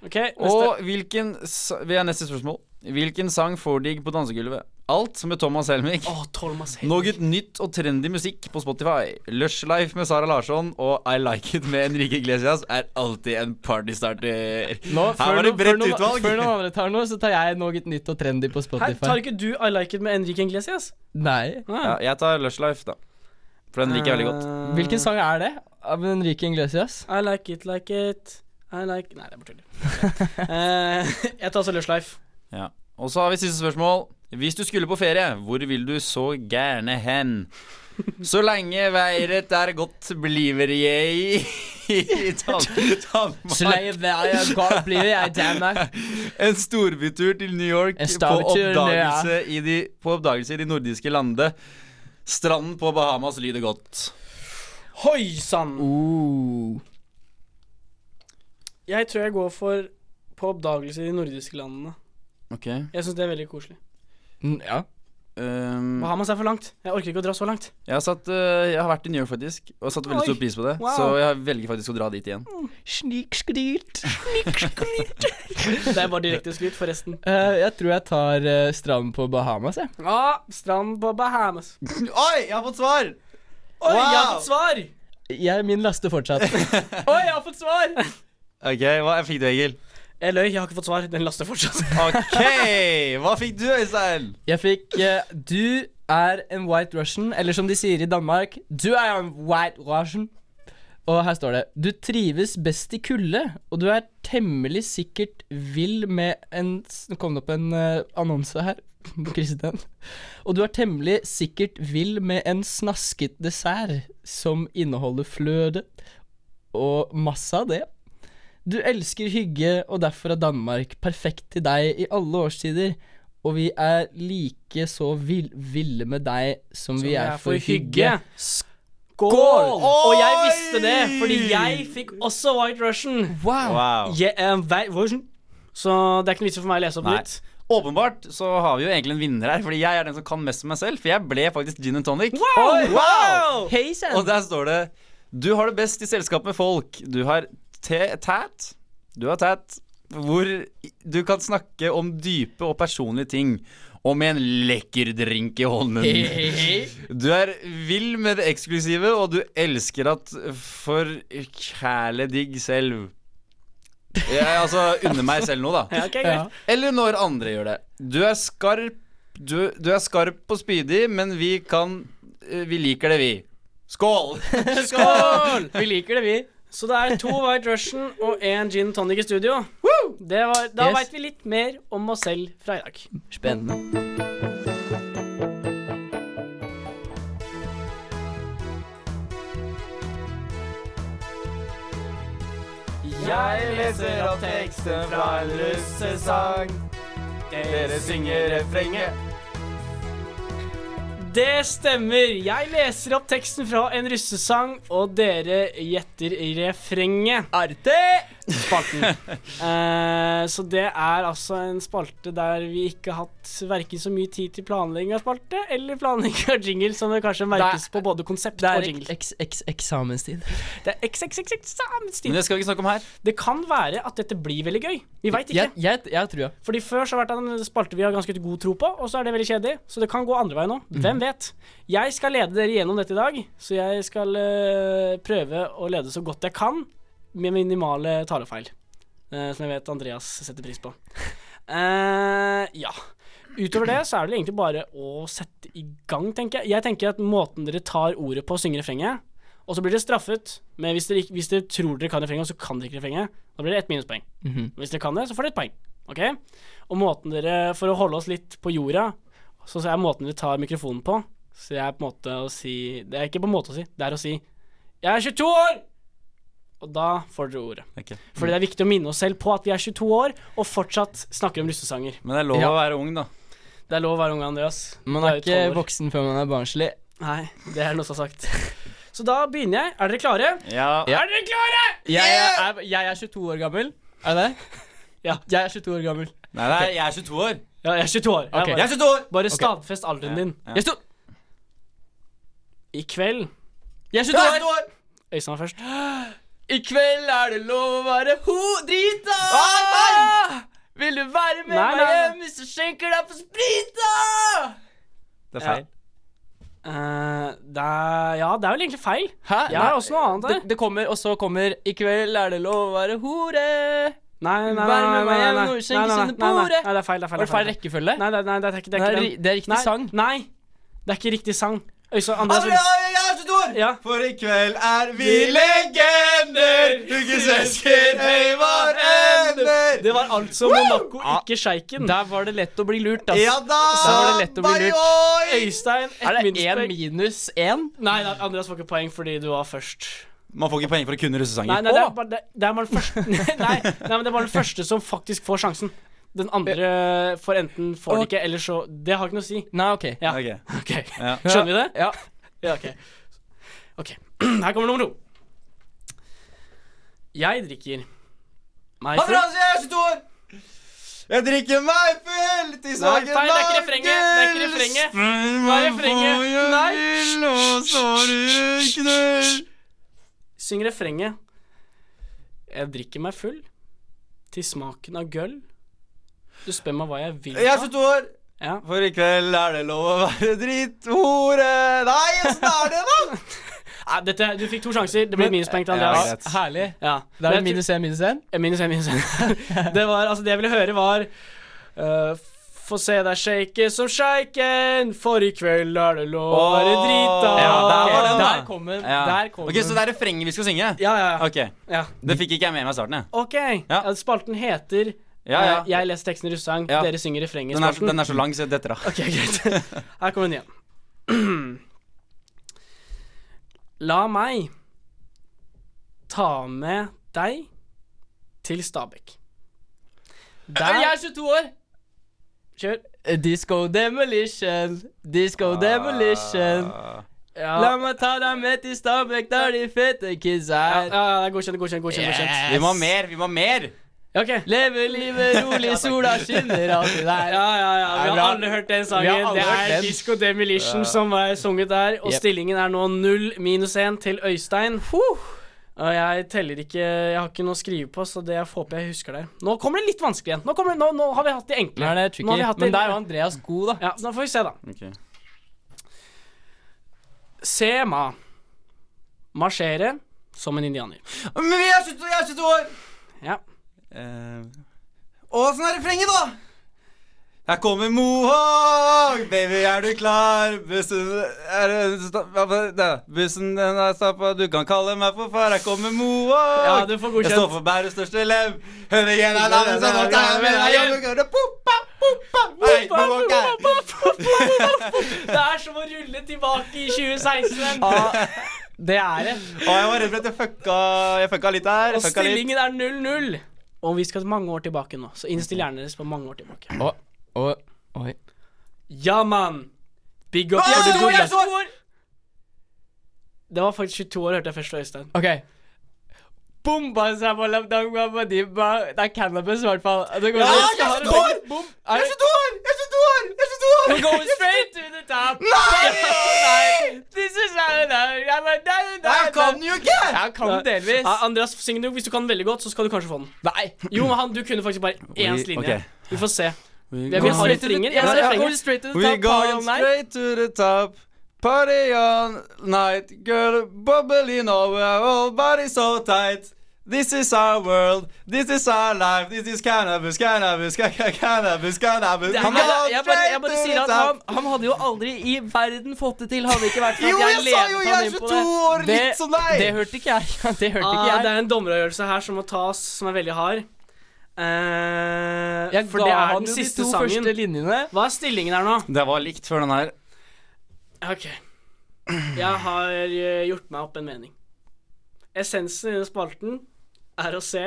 Ok. OK, neste. Og hvilken sa- Vi er neste spørsmål. Hvilken sang får deg på dansegulvet? Alt med Thomas Helmig. Å, Thomas Noe nytt og trendy musikk på Spotify. Lushlife med Sara Larsson og I Like It med Enrique Iglesias er alltid en partystarter. Nå, Her var det noen- bredt noen- utvalg. Før noen andre tar noe, så tar jeg noe nytt og trendy på Her, Spotify. tar ikke du I Like It med Enrique Iglesias? Nei. Ja, jeg tar Lushlife, da. For den liker jeg veldig godt. Eh, Hvilken sang er det? Av Enrique Inglesias? I like it like it I like Nei, det er bare tull. Eh, jeg tar også Lush Life. Eh. Ja. Og så har vi siste spørsmål. Hvis du skulle på ferie, hvor vil du så gjerne hen? Så lenge været er godt, bliver jeg i Dan- Danmark. Slave, blir jeg Danmark? En storbytur til New York En på storbytur, oppdagelse, i de, på oppdagelse i de nordiske landene. Stranden på Bahamas lyder godt. Hoi sann! Uh. Jeg tror jeg går for på oppdagelse i de nordiske landene. Ok Jeg syns det er veldig koselig. Mm, Ja. Eh, Ehm, Hva har man seg for langt? Jeg orker ikke å dra så langt. jeg, har satt, eh, jeg har vært i New York, faktisk, og satt veldig Oi. stor pris på det. Wow. Så jeg velger faktisk å dra dit igjen. Snikskryt. Det er bare direkte skryt, forresten. jeg tror jeg tar eh, strand på Bahamas, jeg. Ah, strand på Bahamas. Oi, Oi, jeg har fått svar! jeg har Wow. fått svar! jeg min laster fortsatt. Oi, jeg har fått svar! Ok, Hva fikk du, Egil? Jeg løy, jeg har ikke fått svar. Den laster fortsatt. Ok, Hva fikk du, Øystein? Jeg fikk eh, Du er en white russian, eller som de sier i Danmark Du er en white russian. Og her står det Du trives best i kulde, og du er temmelig sikkert vill med en s- Nå kom det opp en eh, annonse her. Kristian. Og du er temmelig sikkert vill med en snasket dessert som inneholder fløte og masse av det. Du elsker hygge, og derfor er Danmark perfekt til deg i alle årstider. Og vi er like så vill, ville med deg som, vi er, for hygge. Skål! Og jeg Oi! visste det, fordi jeg fikk også White Russian. Wow. Wow. Yeah, um, White Russian. Så det er ikke noe vits i for meg å lese opp Oh. Nei. nytt. Åpenbart så har vi jo egentlig en vinner her, fordi jeg er den som kan mest om meg selv. For jeg ble faktisk gin and tonic. Wow! Wow! Hei sann! Og der står det Du har det best i selskap med folk. Du har te- tæt. Du har tæt. Hvor du kan snakke om dype og personlige ting. Og med en lekker drink i hånden. Du er vill med det eksklusive, og du elsker at forkjæle digg selv. Jeg, altså under meg selv nå, da. Ja, ok, Ja. greit. Eller når andre gjør det. Du er skarp Du, du er skarp og spydig, men vi kan eh, Vi liker det, vi. Skål! Skål! Vi liker det, vi. Så det er to White Russian og én gin tonic i studio. Det var, da vet Yes. veit vi litt mer om oss selv fra i dag. Spennende. Jeg leser opp teksten fra en russesang. Dere synger refrenget. Det stemmer. Jeg leser opp teksten fra en russesang, og dere gjetter refrenget. Arte! Spalten. Eh, så det er altså en spalte der vi ikke har hatt verken så mye tid til planlegging av spalte, eller planlegging av jingle, som det kanskje merkes på både konsept Det og er jingle. eks- eks- eksamenstid. Det er XXXX Men sammenstilt. det skal vi ikke snakke om her. Det kan være at dette blir veldig gøy. Vi veit ikke. Jeg, jeg, jeg tror jeg. Fordi Før så har det vært en spalte vi har ganske god tro på, og så er det veldig kjedelig. Så det kan gå andre veien nå. Hvem vet? Jeg skal lede dere gjennom dette i dag, så jeg skal eh, prøve å lede så godt jeg kan med minimale talefeil. eh, som jeg vet Andreas setter pris på. Eh, ja. Utover det så er det egentlig bare å sette i gang, tenker jeg. Jeg tenker at måten dere tar ordet på og synger refrenget, og så blir dere straffet. Men hvis dere, ikke- hvis dere tror dere kan refrenget, og så kan dere ikke refrenget, da blir det ett minuspoeng. Hvis dere kan det, så får dere et poeng. Ok? Og måten dere, for å holde oss litt på jorda, så er måten dere tar mikrofonen på Så jeg er på en måte å si Det er ikke på en måte å si, det er å si Jeg er 22 år! Og da får dere ordet. Ok. Fordi det er viktig å minne oss selv på at vi er 22 år og fortsatt snakker om russesanger. Men det er lov Ja. å være ung, da. Det er lov å være unge, Andreas. Man Du er jo ikke 12 år. voksen før man er barnslig. Nei, det er noe som er sagt. Så da begynner jeg. Er dere klare? Ja. Er dere klare? Jeg, er, jeg er 22 år gammel. Er det? Ja. Jeg er 22 år gammel. Nei, nei, jeg er 22 år. Ja, jeg er 22 år. Ok. Jeg Jeg bare, er 22 år! bare stadfest alderen din. Ja. Jeg, er sto- I kveld jeg er Jeg 22 er år! 22 år! Øystein var først. I kveld er det lov å være ho drita! Vil du være med Nei, meg nei. hjem hvis jeg skjenker deg på sprita? Det er Ja. feil. Eh, det er, ja, det er vel egentlig feil. Hæ? Jeg har også noe annet Det, her. det kommer, og så kommer I kveld er det lov å være hore. Nei, nei, nei, Vær nei, med nei, meg nei, nei, hjem når vi nei, skjenker nei, sinne på nei, nei, ordet. nei, det er feil. Det er feil. Var det feil rekkefølge? Nei, nei, nei, det er ikke, det er Det ikke er den. ri- det er riktig nei, sang. Nei, det er ikke riktig sang. Øystein, Andreas Andrea, jeg er 22 år! Ja. For i kveld er vi legender! Ukesøsken, høy vår ender! Det var altså Monaco, ikke sjeiken. Der var Ah. det lett å bli lurt, ass. Ja da! Da var det lett å bli lurt. Oi! Øystein, Er ett det én minuspoeng. minus én? Nei, nei, Andreas får ikke poeng fordi du var først. Man får ikke poeng for å kunne russesanger. Nei, nei, det, er Å! bare, det, det er bare den første nei, nei, men det er bare den første som faktisk får sjansen. Den andre får enten får det Ok. ikke, eller så Det har ikke noe å si. Nei, OK. Ja. Ok. Ok, Ja. Skjønner vi det? Ja. Ja, ok. Ok, Her kommer nummer to. Jeg drikker meg Andreas, full jeg er 22 år! Jeg drikker meg full til Nei, smaken feil, det er ikke refrenget. Det er ikke refrenget. Det er refrenget. Nei. Og så har du knull. Syng refrenget. Jeg drikker meg full til smaken av gull. Du spør meg hva jeg vil Jeg er ha. 22 år. Ja. For i kveld er det lov å være drithore. Nei, åssen er det, da? Nei, dette, du fikk to sjanser. Det blir Men- minuspoeng til Ja, Andreas. greit. Herlig. Ja. Da er Men det jeg tror- minus én, minus én. Eh, Minus én, minus én. Det var Altså, det jeg ville høre, var eh, få se deg shake som sjeiken, for i kveld er det lov å være Åh. drita. Ja, der var den, da. Der kom den. Ja. Der kom Ok, Så det er refrenget vi skal synge? Ja, ja, ja. Ok, ja. Det fikk ikke jeg med meg i starten. jeg. OK. Ja. Ja, Spalten heter Ja, ja. eh, Jeg leser teksten i russesang, Ja. dere synger refrenget i Den er, spalten. den er så lang, så jeg detter av. Ok, greit. Her kommer den igjen. La meg ta med deg til Stabekk. Der Jeg er 22 år. Kjør. Eh, Disco demolition, disco Ah. demolition. Ja. La meg ta deg med til Stabekk, der de fete kids Ja, er. ja, ja, godkjent, godkjent, godkjent. godkjent. Yes. Vi må ha mer, vi må ha mer! Ok. Lever livet rolig, sola skinner alltid der. Ja, ja, ja. Vi Ja, har bra. alle hørt den Vi har sangen. alle Det hørt er den. Disco Demolition som var sunget der. Og Yep. stillingen er nå null minus én til Øystein. Og jeg teller ikke Jeg har ikke noe å skrive på, så det jeg håper jeg husker der. Nå kommer det litt vanskelig igjen. Nå, kommer det, nå, nå har vi hatt de enkle. Nå er det Nå tricky. har vi hatt det- Men der var Andreas god, da. Ja, nå får vi se, da. Ok. Se ma. Marsjere som en indianer. Men vi er 22, jeg er 22 år! Ja. Eh, Åssen er refrenget, da? Her kommer Mohawk, baby, er du klar? Bussen er det- sta- hva var det? Bussen den er stappa, du kan kalle meg for far. Her kommer Mohawk. Ja, du får godkjent. Jeg står for Bærums største lem. Høvingen er navnet som må ta med deg hjem. Går det poppa, poppa, Hei, Mohawk er Det er som å rulle tilbake i 2016. Ah. Det er det. Å, jeg var redd for at jeg fucka, jeg fucka litt der. Og fucka litt. stillingen er 0-0. Og vi skal mange år tilbake nå, så innstill hjernen deres på mange år tilbake. Og, og, oi. Ja, mann! Big up for the good luck. Det var faktisk 22 år, hørte jeg først fra Øystein. Ok. Bomba seg på labdanga på dibba. Det er cannabis, i hvert fall. Det går- jeg skal ha er det så begge- dårlig! Bom. Jeg er 22 år! Jeg er 22 år! Jeg er 22 år! We're going straight to the top. Nei! This is how it is. I'm a- da, da, da, Jeg kan da. jo ikke! Jeg kan Nei. delvis. Ah, Andreas, syng du. Hvis du kan den veldig godt, så skal du kanskje få den. Nei. Jo, men han, du kunne faktisk bare én Vi- linje. ok. Vi får se. We Jeg vil ha refrenger. Jeg Ja, vil ha refrenger. ja, Going straight to the We top. party going all night. straight to the top. Party on night, girl, bubbling over, all body so tight. This is our world, this is our life, this is cannabis, cannabis, ca- ca- cannabis, cannabis. Jeg, Come jeg, on, jeg, bare, jeg straight bare to sier the at top. han, han hadde jo aldri i verden fått det til, hadde det ikke vært for Jo, at jeg sa jo, ledet jeg er han inn på 22 år, det. litt som deg. Det hørte ikke jeg. Det hørte ikke Ah, det jeg. er en dommeravgjørelse her som må tas, som er veldig hard. Eh, Jeg for det ga er han den jo de siste to sangen. første linjene. Hva er stillingen her nå? Det var likt før den her. Ok. Jeg har eh, gjort meg opp en mening. Essensen i denne spalten er å se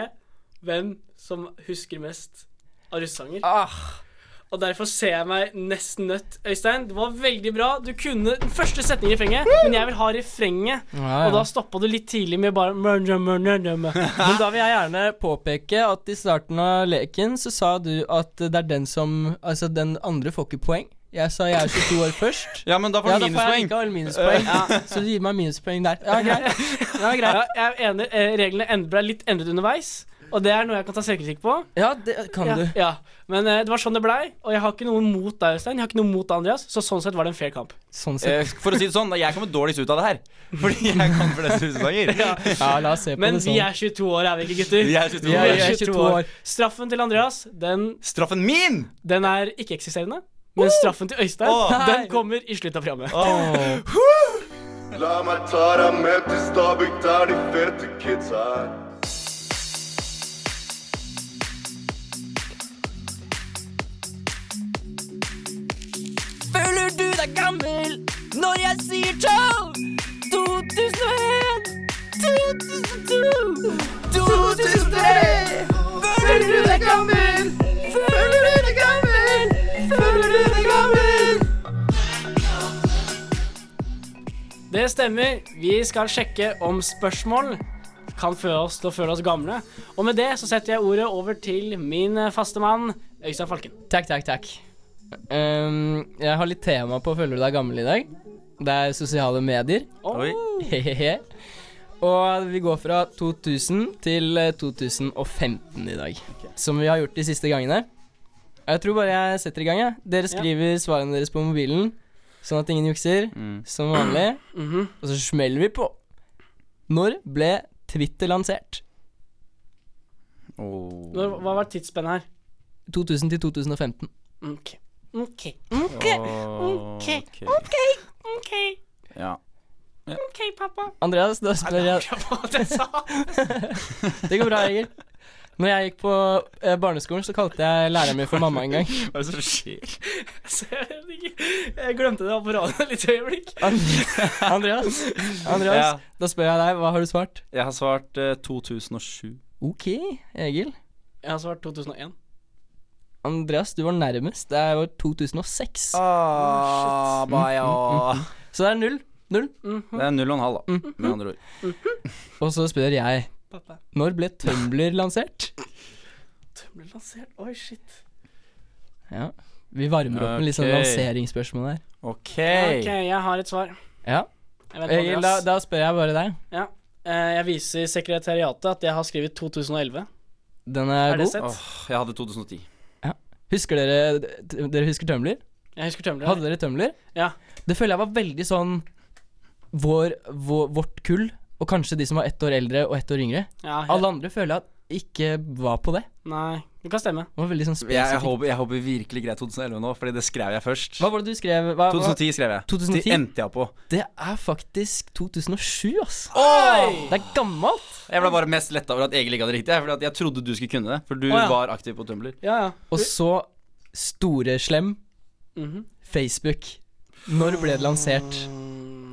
hvem som husker mest av russesanger. Ah, Og derfor ser jeg meg nesten nødt. Øystein, det var veldig bra. Du kunne den første setningen i refrenget, men jeg vil ha refrenget. ja, Og da ja. stoppa du litt tidlig med bare Men Men da vil jeg gjerne påpeke at i starten av leken så sa du at det er den som Altså, den andre får ikke poeng. Jeg sa jeg er 22 år først. Ja, men da får Ja, du da får minuspoeng. jeg likevel minuspoeng. Ja, så du gir meg minuspoeng der. Ja, greit. Ja, greit. Ja, jeg er enig. Eh, Reglene end- ble litt endret underveis, og det er noe jeg kan ta selvkritikk på. ja det kan Ja, du. ja. Men eh, det var sånn det blei, og jeg har ikke noe mot deg, Øystein. Jeg har ikke noe mot deg, Andreas, så sånn sett var det en fair kamp. Sånn sett. Eh, For å si det sånn, jeg kommer dårligst ut av det her. Fordi jeg kan flest hussanger. Ja, la oss se på Men det sånn. vi er 22 år, er vi ikke, gutter? Vi er 22 Vi år. er 22 år. Straffen til Andreas, den, Straffen min! den er ikke-eksisterende. Men straffen til Øystein, Åh. den kommer i slutten av programmet. Åh. La meg ta deg med til Stabekk, der de fete kids er. Føler du deg gammel når jeg sier tolv? 2001, 2002, 2003. Føler du deg gammel? Føler du deg gammel? Føler du deg gammel? Det stemmer. Vi skal sjekke om spørsmål kan føre oss til å føle oss gamle. Og med det så setter jeg ordet over til min eh, faste mann, Øystein Falken. Takk, takk, takk. Ehm, jeg har litt tema på Føler du deg gammel i dag. Det er sosiale medier. Å, Oi. Hehehe. Og vi går fra 2000 til eh, 2015 i dag, som vi har gjort de siste gangene. Jeg tror bare jeg setter i gang. Jeg. Dere skriver svarene deres på mobilen, sånn at ingen jukser, som vanlig. Mm. mhm. Og så smeller vi på. Når ble Twitter lansert? Åh. Nå- Hva var tidsspennet her? 2000 til 2015. Ok. Ok. Ok. Ok. Ok. Ok. Ja. Ok, pappa. Andreas, da spør jeg Det sa Det går bra, Egil. Når jeg gikk på eh, barneskolen, så kalte jeg læreren min for mamma en gang. Hva er det som skjer? Jeg glemte det på radioen et øyeblikk. Ah. Andreas, Andreas Ja, da spør jeg deg, hva har du svart? jeg har svart eh, 2007. Ok, Egil. Jeg har svart 2001. Andreas, du var nærmest. Det var 2006. Mm, Ah, Så det er null. Null. Det er null og en halv, da, Mm. med andre ord. Og så spør jeg, Pappa. når ble Tumblr lansert? Det ble lansert. Oi, shit. Ja, vi varmer opp med litt sånn Ok. lanseringsspørsmål her. Ok. Ok, jeg har et svar. Ja, Jeg, vet Egil, da, Andreas. da spør jeg bare deg. Eh, jeg viser sekretariatet at jeg har skrevet 2011. Den er, Er det god. sett? Åh, jeg hadde 2010. Husker dere, dere husker Tumblr? Jeg husker tømmer Hadde dere Tumblr? Ja. Det føler jeg var veldig sånn vår, vår, vårt kull, og kanskje de som var ett år eldre og ett år yngre. Ja, jeg, Alle andre føler jeg at ikke var på det. Nei, det kan stemme. Det var veldig sånn Jeg, jeg, spesifikt. håper, jeg håper virkelig greit 2011 nå, Fordi det skrev jeg først. Hva var det du skrev? Hva, hva? 2010 skrev jeg. 2010? Det endte jeg på. Det er faktisk 2007, ass. Oi! Det er gammelt. Jeg ble bare mest letta over at Egil ikke hadde riktig. Fordi at jeg trodde du skulle kunne det. For du Å, ja. var aktiv på Tumblr. Ja, ja. Og så store slem Mhm. Facebook. Når ble det lansert?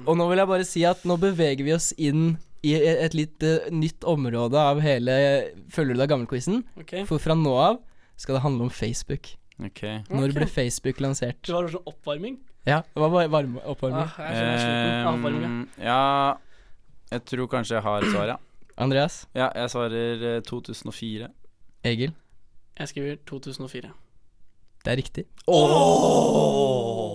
Og nå vil jeg bare si at nå beveger vi oss inn i e- et litt eh, nytt område av hele Følger du deg gammel-quizen? Ok. For fra nå av skal det handle om Facebook. Ok Når Ok. ble Facebook lansert? Det var sånn oppvarming. Ja, det var bare varme oppvarming. Ah, jeg er så sliten. Ehm. Jeg har oppvarming, ja. Ehm, ja Jeg tror kanskje jeg har et svar, ja. Andreas, Ja, jeg svarer eh, 2004. Egil, Jeg skriver 2004. det er riktig.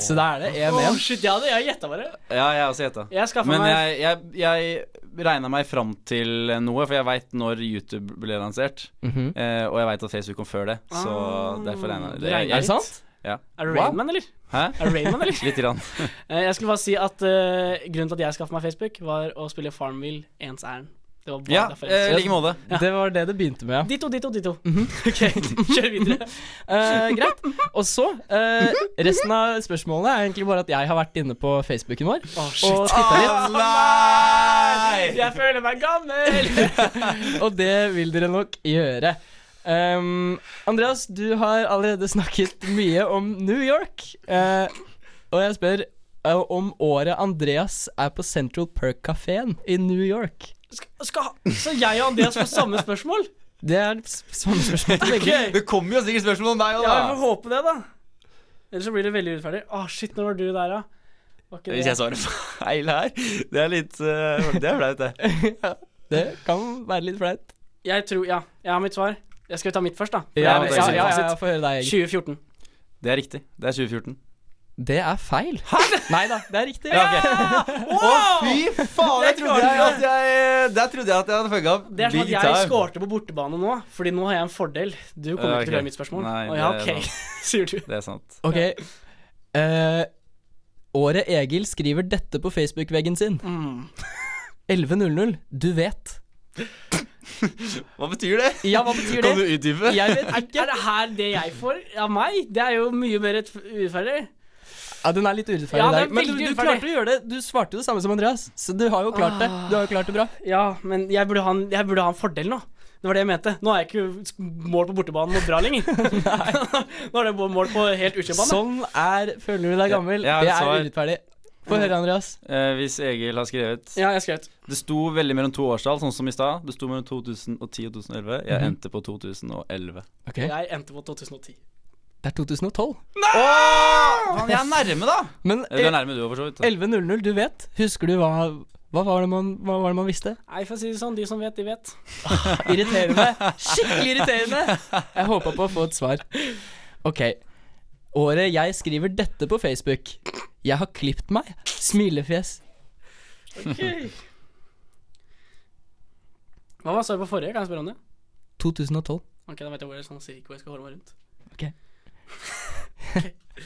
Så da er det Å, 1-1. shit, jeg hadde jeg gjetta bare. Ja, jeg har også gjetta. Jeg skaffa Men meg jeg, jeg, jeg regna meg fram til noe, for jeg veit når YouTube ble lansert. Mhm. eh, og jeg veit at Facebook kom før det, så Ah, derfor regna jeg du regnet Er det jeg- sant? Er du Wow. Rainman, eller? Hæ? Er du Rainman, eller? Litt grann. Eh, Jeg skulle bare si at eh, grunnen til at jeg skaffet meg Facebook, var å spille Farmville ens ærend. Det var bare Ja, eh, derfor. i jeg- like måte. Det var det det begynte med, ja. Ditto, ditto, ditto. Mhm. Ok, kjør videre. Eh, greit. Og så eh, Resten av spørsmålene er egentlig bare at jeg har vært inne på Facebooken vår. Å, Og shit. tittet Nei! litt. Jeg føler meg gammel! Og det vil dere nok gjøre. Ehm, Andreas, du har allerede snakket mye om New York. eh, og jeg spør eh, om året Andreas er på Central Perk-kafeen i New York. Skal, skal, så jeg og Andreas får samme spørsmål? Det er s- samme spørsmål til begge. Ok. Det kommer jo sikkert spørsmål om deg òg, Ja, vi får da. håpe det, da. Ellers så blir det veldig urettferdig. Å, shit, når var du der, da? Var ikke Hvis jeg det? svarer feil her Det er litt eh, Det er flaut, det. Det kan være litt flaut. Jeg tror Ja, jeg har mitt svar. Jeg skal ta mitt først, da. For Ja, jeg ja, vet ja, ikke ja, fasit. ja, få høre deg, Egil. 2014. Det er riktig. Det er 2014. Det er feil. Nei da, det er riktig. Ja, ok. Å, fy faen! Det Jeg trodde jeg klarte at jeg eh, Der trodde jeg at jeg hadde fucka opp. Det er som at big jeg time. skårte på bortebane nå, Fordi nå har jeg en fordel. Du kommer ikke til Ja, ok. å høre mitt spørsmål. Nei, Å, ja, det er ok, sier du. Det er sant. Ok. Eh, året Egil skriver dette på Facebook-veggen sin. 11.00. Du vet. Hva betyr det? Ja, hva betyr Kan du det? utdype? Jeg vet Er, ikke. er det her det jeg får av meg? Det er jo mye mer rettf- urettferdig. Ja, den er litt urettferdig Ja, den er der. Men du, veldig du urettferdig. klarte å gjøre det. Du svarte jo det samme som Andreas, så du har jo klart det. Du har jo klart det Ah. bra. Ja, men jeg burde ha en, jeg burde ha en fordel nå. Det var det jeg mente. Nå er jeg ikke sk- mål på bortebanen og bra lenger. nå er det bare mål på helt utkjøpbane. Sånn er Føler du deg gammel? Ja, Det jeg er har et urettferdig. Få høre, Andreas. Eh, hvis Egil har skrevet Ja, jeg skrev ut. Det sto veldig mellom to årstall, sånn som i stad. Det sto mellom 2010 og 2011. Jeg Mhm. endte på 2011. Ok, Det Jeg endte på 2010. er 2012. Faen, jeg er nærme, da! Men Du er nærme, du òg, for så vidt. da. 11.00, du vet. Husker du hva, Hva var det man, hva var det man visste? Nei, for å si det sånn, de som vet, de vet. Irriterende. Skikkelig irriterende. Jeg håpa på å få et svar. Ok. Året jeg skriver dette på Facebook. Jeg har klipt meg. Smilefjes. Hva var svaret på forrige? Kan jeg spørre om det? 2012. Ok, da vet jeg hvor jeg sånn cirka hvor jeg skal holde meg rundt. Ok. Ok.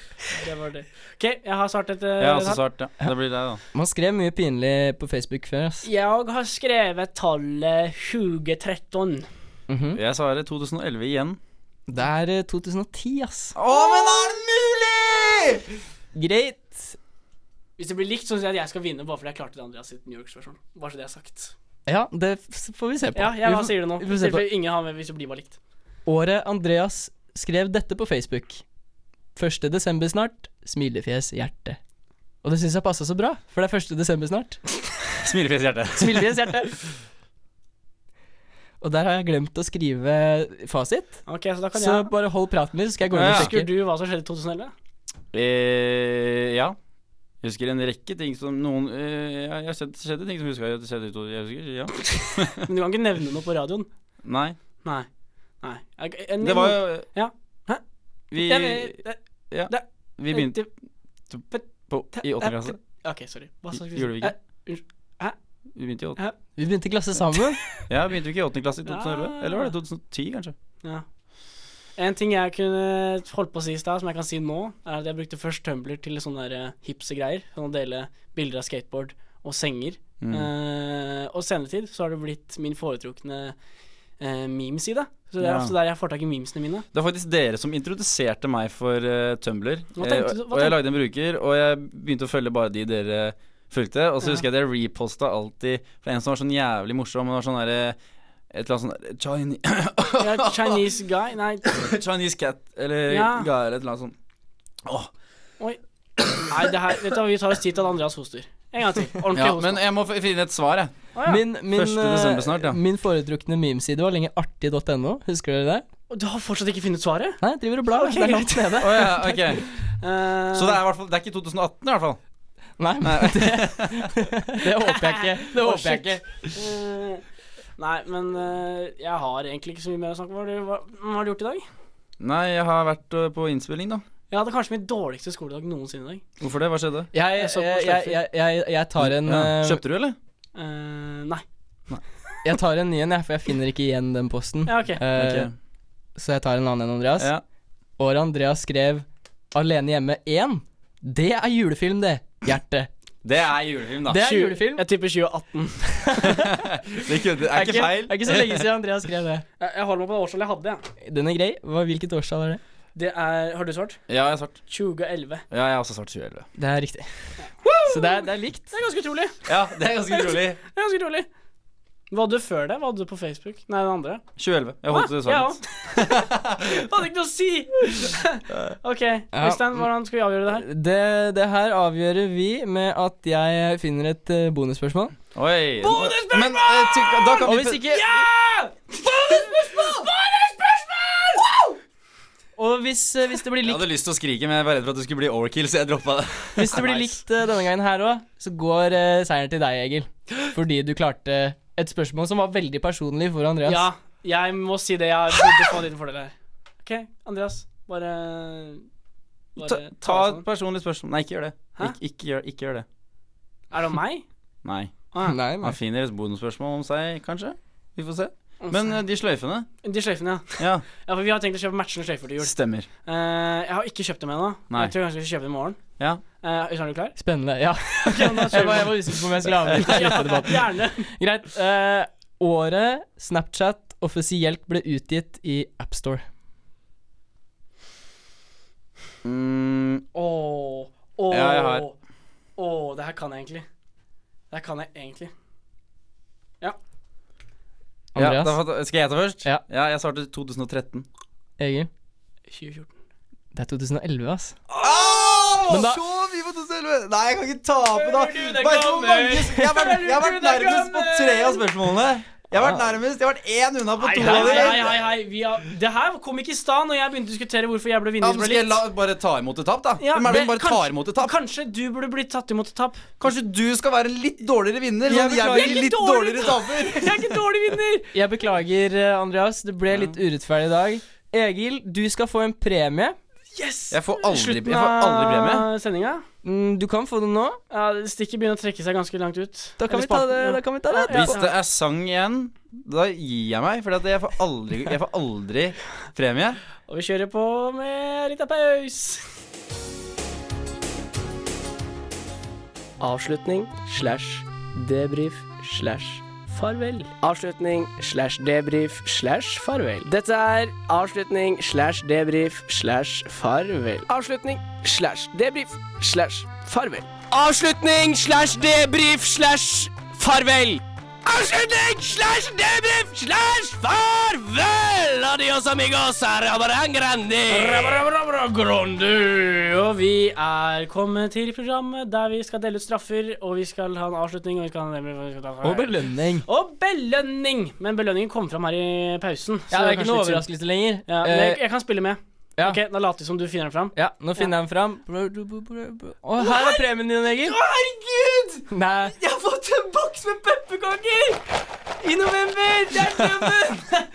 Det var det. Ok, jeg har svart et eh, Jeg har også svart, ja. altså, Det blir deg, da. Man skrev mye pinlig på Facebook før, ass. Jeg har skrevet tallet 2013. Mhm. Jeg svarer 2011 igjen. Det er eh, 2010, ass. Å, men er det mulig?! Greit. Hvis det blir likt, så syns jeg at jeg skal vinne bare fordi jeg klarte det Andreas sitt New York-spørsmål. Bare så det er sagt. Ja, det f- får vi se på. Ja, jeg Vi bare får- sier det nå. Vi får se på. Tilfelle ingen har med hvis det blir bare likt. Året Andreas skrev dette på Facebook. 1. desember snart. Smilefjes, hjerte. Og det syns jeg passa så bra, for det er 1. desember snart. Smilefjes hjerte. Smilefjes, hjerte. Og der har jeg glemt å skrive fasit, Ok, så da kan så jeg bare hold praten min, så skal jeg gå inn og Ja. sjekke. Husker du hva som skjedde i 2011? Eh, ja. Jeg husker en rekke ting som noen eh, ja, Jeg har sett skjedde ting som husker jeg skjedde i to Jeg husker, ja. Men du kan ikke nevne noe på radioen. Nei. Nei. Nei. Jeg- en- Det var jo Ja. Hæ? Vi, Jeg vet- vi begynte på i åttende klasse. eh, Ok, sorry. Hva sa Gjorde vi ikke? Eh, unnskyld. Hæ? Vi begynte i åttende Vi begynte i klasse sammen. Ja, begynte vi ikke i åttende klasse i 2011? Ja. Eller var det 2010, kanskje? Ja. En ting jeg kunne holdt på å si i stad, som jeg kan si nå, er at jeg brukte først Tumblr til sånne der hipse greier. Sånn å dele bilder av skateboard og senger. Mm. Eh, og senere tid så har det blitt min foretrukne eh, memeside. Så det er Ja. ofte der jeg får tak i memesene mine. Det var faktisk dere som introduserte meg for eh, Tumblr. Hva Eh, tenkte du- hva og jeg tenkte- lagde en bruker, og jeg begynte å følge bare de dere fulgte. Og så Ja. husker jeg at jeg reposta alltid fra en som var sånn jævlig morsom. Han var sånn derre et eller annet sånn der, Chine- Jeg er Chinese guy Nei, Chinese cat eller Ja. guy eller et eller annet sånn. sånt. Åh. oi. Nei, det her Vet du hva, vi tar oss tid til at Andreas hoster. En gang til. Ordentlig Ja, host. men jeg må f- finne et svar, jeg. Å, ja. Min, min, 1. desember snart, ja. eh, min foretrukne memeside var lenge artig.no. Husker dere det? Og Du har fortsatt ikke funnet svaret? Nei, jeg driver og blar. Ok, Det er langt nede. Å ja, ok. Eh, Så det er, i hvert fall, det er ikke 2018, i hvert fall. Nei, men det, det håper jeg ikke. Det Å, håper jeg ikke. Eh, Nei, men eh, jeg har egentlig ikke så mye mer å snakke om. Hva har du- Hva, hva har du gjort i dag? Nei, jeg har vært eh, på innspilling, da. Jeg hadde kanskje min dårligste skoledag noensinne i dag. Hvorfor det? Hva skjedde? Jeg, Jeg så på jeg, jeg, sløyfer. jeg, jeg, jeg tar en ja. eh, Kjøpte du, eller? Eh, nei. Jeg tar en ny en, jeg, for jeg finner ikke igjen den posten. Ja, ok. Eh, Ok. Så jeg tar en annen enn Andreas. Ja. Året Andreas skrev 'Alene hjemme 1', det er julefilm, det. Hjerte. Det er julefilm, da. Det er Tjue- julefilm. Jeg tipper 2018. Det kødder- det er ikke feil. Det er ikke så lenge siden Andreas skrev det. Jeg, jeg holder meg på det årstallet jeg hadde. jeg. Den er grei. Hva, hvilket årstall er det? Det er, Har du svart? Ja, jeg har svart. 2011. Ja, jeg har også svart 2011. Det er riktig. Så det er, det er likt. Det er ganske utrolig. Ja, det er ganske utrolig. Det er ganske utrolig. Hva hadde du før det? Hva hadde du på Facebook? Nei, den andre. 2011. Jeg holdt det Ja. sånn. hadde ikke noe å si! OK, Øystein, hvordan skal vi avgjøre det her? Det, det her avgjør vi med at jeg finner et eh, bonusspørsmål. Oi. Men eh, ty- da kan Og vi hvis pe- ikke Og hvis, eh, hvis det blir Jeg likt, hadde lyst til å skrike, men jeg var redd for at det skulle bli overkill, så jeg droppa det. hvis det blir Nice. likt eh, denne gangen her òg, så går eh, seieren til deg, Egil. Fordi du klarte et spørsmål som var veldig personlig for Andreas. Ja, jeg må si det. Jeg burde få en liten fordel her. OK, Andreas. Bare, bare sånn. Ta, ta oss et sammen. personlig spørsmål. Nei, ikke gjør det. Hæ? Ik ikke, gjør, ikke gjør det. Er det om meg? Nei. Nei, nei. Han finner et bonusspørsmål om seg, kanskje. Vi får se. Men eh, de sløyfene De sløyfene, ja. Ja, ja. For vi har tenkt å kjøpe matchende sløyfer til jul. stemmer. Eh, jeg har ikke kjøpt dem ennå. Nei. Jeg tror kanskje vi skal kjøpe dem i morgen. Ja. Eh, Øystein, er du klar? Spennende. Ja. jeg, var, jeg var usikker på om jeg skulle avbryte. Ja, gjerne. Greit. eh, året Snapchat offisielt ble utgitt i AppStore. Mm, Åh, åh, Ja, jeg har. åh, det her kan jeg egentlig. Det her kan jeg egentlig. ja, Andreas? da får- skal jeg ta først? Ja. ja jeg svarte 2013. Egil? 2014. Det er 2011, ass. Oh, Men da- så mye på 2011! Nei, jeg kan ikke tape, da. Hører du det Vet du hvor kommer? mange Jeg har vært, jeg Hører har vært du det nærmest på kommer? tre av spørsmålene. Jeg har vært nærmest. Jeg har vært én unna på Hei, to hei, av hei, hei, dem. hei, hei. Vi har, det her kom ikke i stad når jeg begynte å diskutere hvorfor jeg ble Ja, vinner. men som ble skal jeg litt. la, bare ta imot et tap, da? Ja, Hvem er det men som bare tar imot et tap? Kanskje du burde blitt tatt imot et tap. Kanskje du skal være en litt dårligere vinner? Sånn, jeg beklager. Jeg blir er litt litt dårlig. dårligere taper. Jeg er ikke en dårlig vinner. Jeg beklager, eh, Andreas. Det ble litt urettferdig i dag. Egil, du skal få en premie. Yes! Jeg får aldri, jeg får aldri premie. sendinga. Mm, Du kan få den nå. Ja, Stikket begynner å trekke seg ganske langt ut. Da kan, Eller vi ta spalten, det, ja. da kan vi ta det Ja. etterpå. Hvis det er sang igjen, da gir jeg meg. For jeg, får aldri- jeg får aldri premie. Og vi kjører på med litt av paus. Avslutning slash debrief slash farvel. Avslutning slash debrief slash farvel. Dette er avslutning slash debrief slash farvel. Avslutning slash debrief slash farvel. Avslutning slash debrief slash farvel. Avslutning slash debrief slash farvel. Adios amigos, rabarang grandi. Og vi er kommet til programmet der vi skal dele ut straffer, og vi skal ha en avslutning, og vi skal ha en Og belønning. Og belønning! Men belønningen kom fram her i pausen. så Ja, det kanskje er ikke noe litt synd. overraskelse lenger. Ja, men jeg, Eh, jeg kan spille med. ja. Ok, Da later vi som du finner den fram. ja, nå finner jeg den fram. Og her er premien din, Egil. Herregud! Nei. Jeg har fått en boks med pepperkaker! I november! Det er drømmen!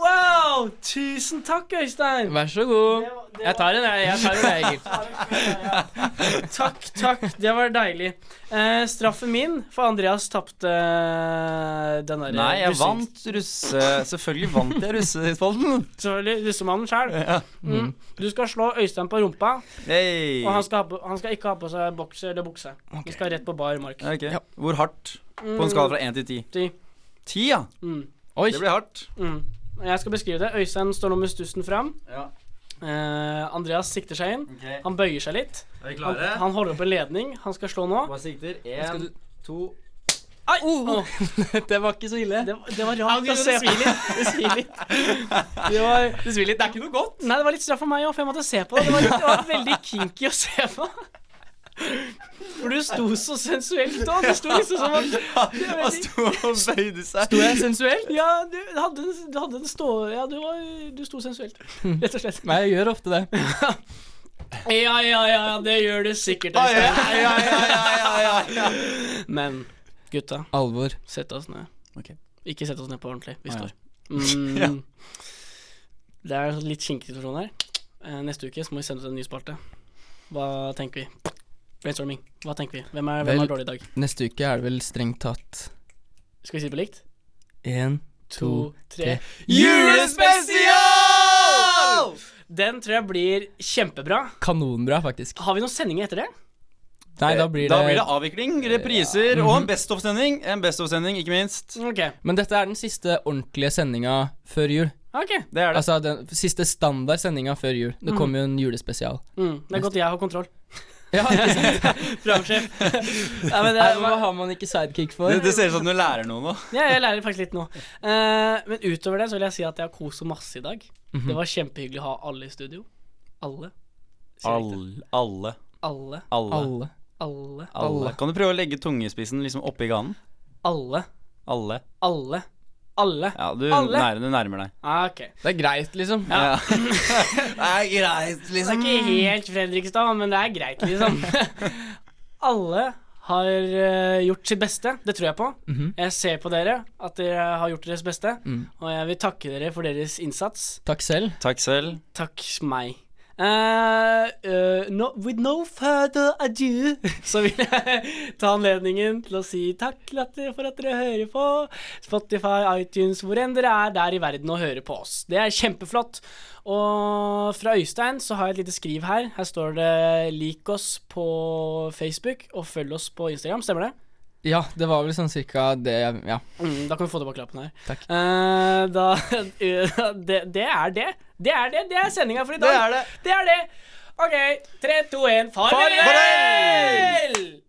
wow! Tusen takk, Øystein. Vær så god. Jeg tar den, jeg. jeg tar den, jeg, Egil. Takk, takk. Det var deilig. Eh, straffen min, for Andreas tapte eh, den derre Nei, jeg vant russe... Selvfølgelig vant jeg russespalten. Selvfølgelig. Russemannen sjøl. Mm. Du skal slå Øystein på rumpa, Hey. og han skal, ha på, han skal ikke ha på seg bokser eller bukse. Vi skal rett på bar mark. Ok. Hvor hardt? På en skala fra én til ti. Ti. Ti, ja. Mm. Oi. Det ble hardt. Mm. Jeg skal beskrive det. Øystein står nå med stussen fram. Ja. Eh, Andreas sikter seg inn. Ok. Han bøyer seg litt. Er vi Han, klare? han holder opp en ledning. Han skal slå nå. Hva sikter? Én, to Ai! Åh, Oh. Det var ikke så ille. det, var- det var rart å se på. Det svir litt. Det var, Det svir litt. Det er ikke noe godt. nei, det var litt straff for meg òg, for jeg måtte se på det. Det var, litt, det var veldig kinky å se på. For du sto så sensuelt òg. Du sto liksom som at Han sto og bøyde seg. Sto jeg sensuelt? Ja, du hadde, en- du hadde en stå... Ja, du, var, du sto sensuelt, rett og slett. Nei, jeg gjør ofte det. Ja, ja, ja, det gjør det sikkert. altså. Ai, Øystein. ai, ai, ai, ai, ai, ai. Men gutta, Alvor. sett oss ned. Ok. Ikke sett oss ned på ordentlig. Vi Ah, ja. står. Mm. Det er en litt kinkig situasjon her. Eh, Neste uke så må vi sende ut en ny spalte. Hva tenker vi? Brainstorming. Hva tenker vi? Hvem er, hvem Vel- er dårlig i dag? Neste uke er det vel strengt tatt Skal vi si det på likt? én, To, to tre. Julespesial! Den tror jeg blir kjempebra. Kanonbra, faktisk. Har vi noen sendinger etter det? Nei, da blir det, Da blir det avvikling, repriser og en best of-sending. En best of-sending, ikke minst. Ok. Men dette er den siste ordentlige sendinga før jul. ok Det er det. Altså den siste standard sendinga før jul. Det kommer jo en julespesial. mm, Det er godt jeg har kontroll. Ja, ikke sant? Programsjef. Nei, men det Nei, er- Hva har man ikke sidekick for? Det, det ser ut som du lærer noe nå. Ja, jeg lærer faktisk litt nå. Eh, men utover det så vil jeg si at jeg har kost meg masse i dag. Det var kjempehyggelig å ha alle i studio. Alle. Sier jeg riktig? Alle, alle, Alle. alle, Alle. Alle. alle. Kan du prøve å legge tungespissen liksom oppi ganen? Alle. Alle. Alle. Alle. Ja, du, Alle? Nær, du nærmer deg. Ah, OK. Det Det er greit, liksom. Ja. det er greit, er liksom. ikke helt Fredrikstad, men det er greit, liksom. alle har eh, gjort sitt beste. Det tror jeg på. Jeg ser på dere at dere har gjort deres beste, og jeg vil takke dere for deres innsats. Takk selv. Takk selv. Takk meg. Eh, eh, no, with no further ado så vil jeg ta anledningen til å si takk til at, for at dere hører på Spotify, iTunes, hvor enn dere er der i verden og hører på oss. Det er kjempeflott. Og fra Øystein så har jeg et lite skriv her. Her står det 'lik oss' på Facebook og 'følg oss' på Instagram. Stemmer det? Ja, det var vel sånn cirka det jeg- Ja. Mm, da kan vi få tilbake lappen her. Takk. Eh, da, eh, det, det er det. Det er det. Det er sendinga for i dag. Det er det. Det er det. OK. Tre, to, én, farvel! Farvel! farvel!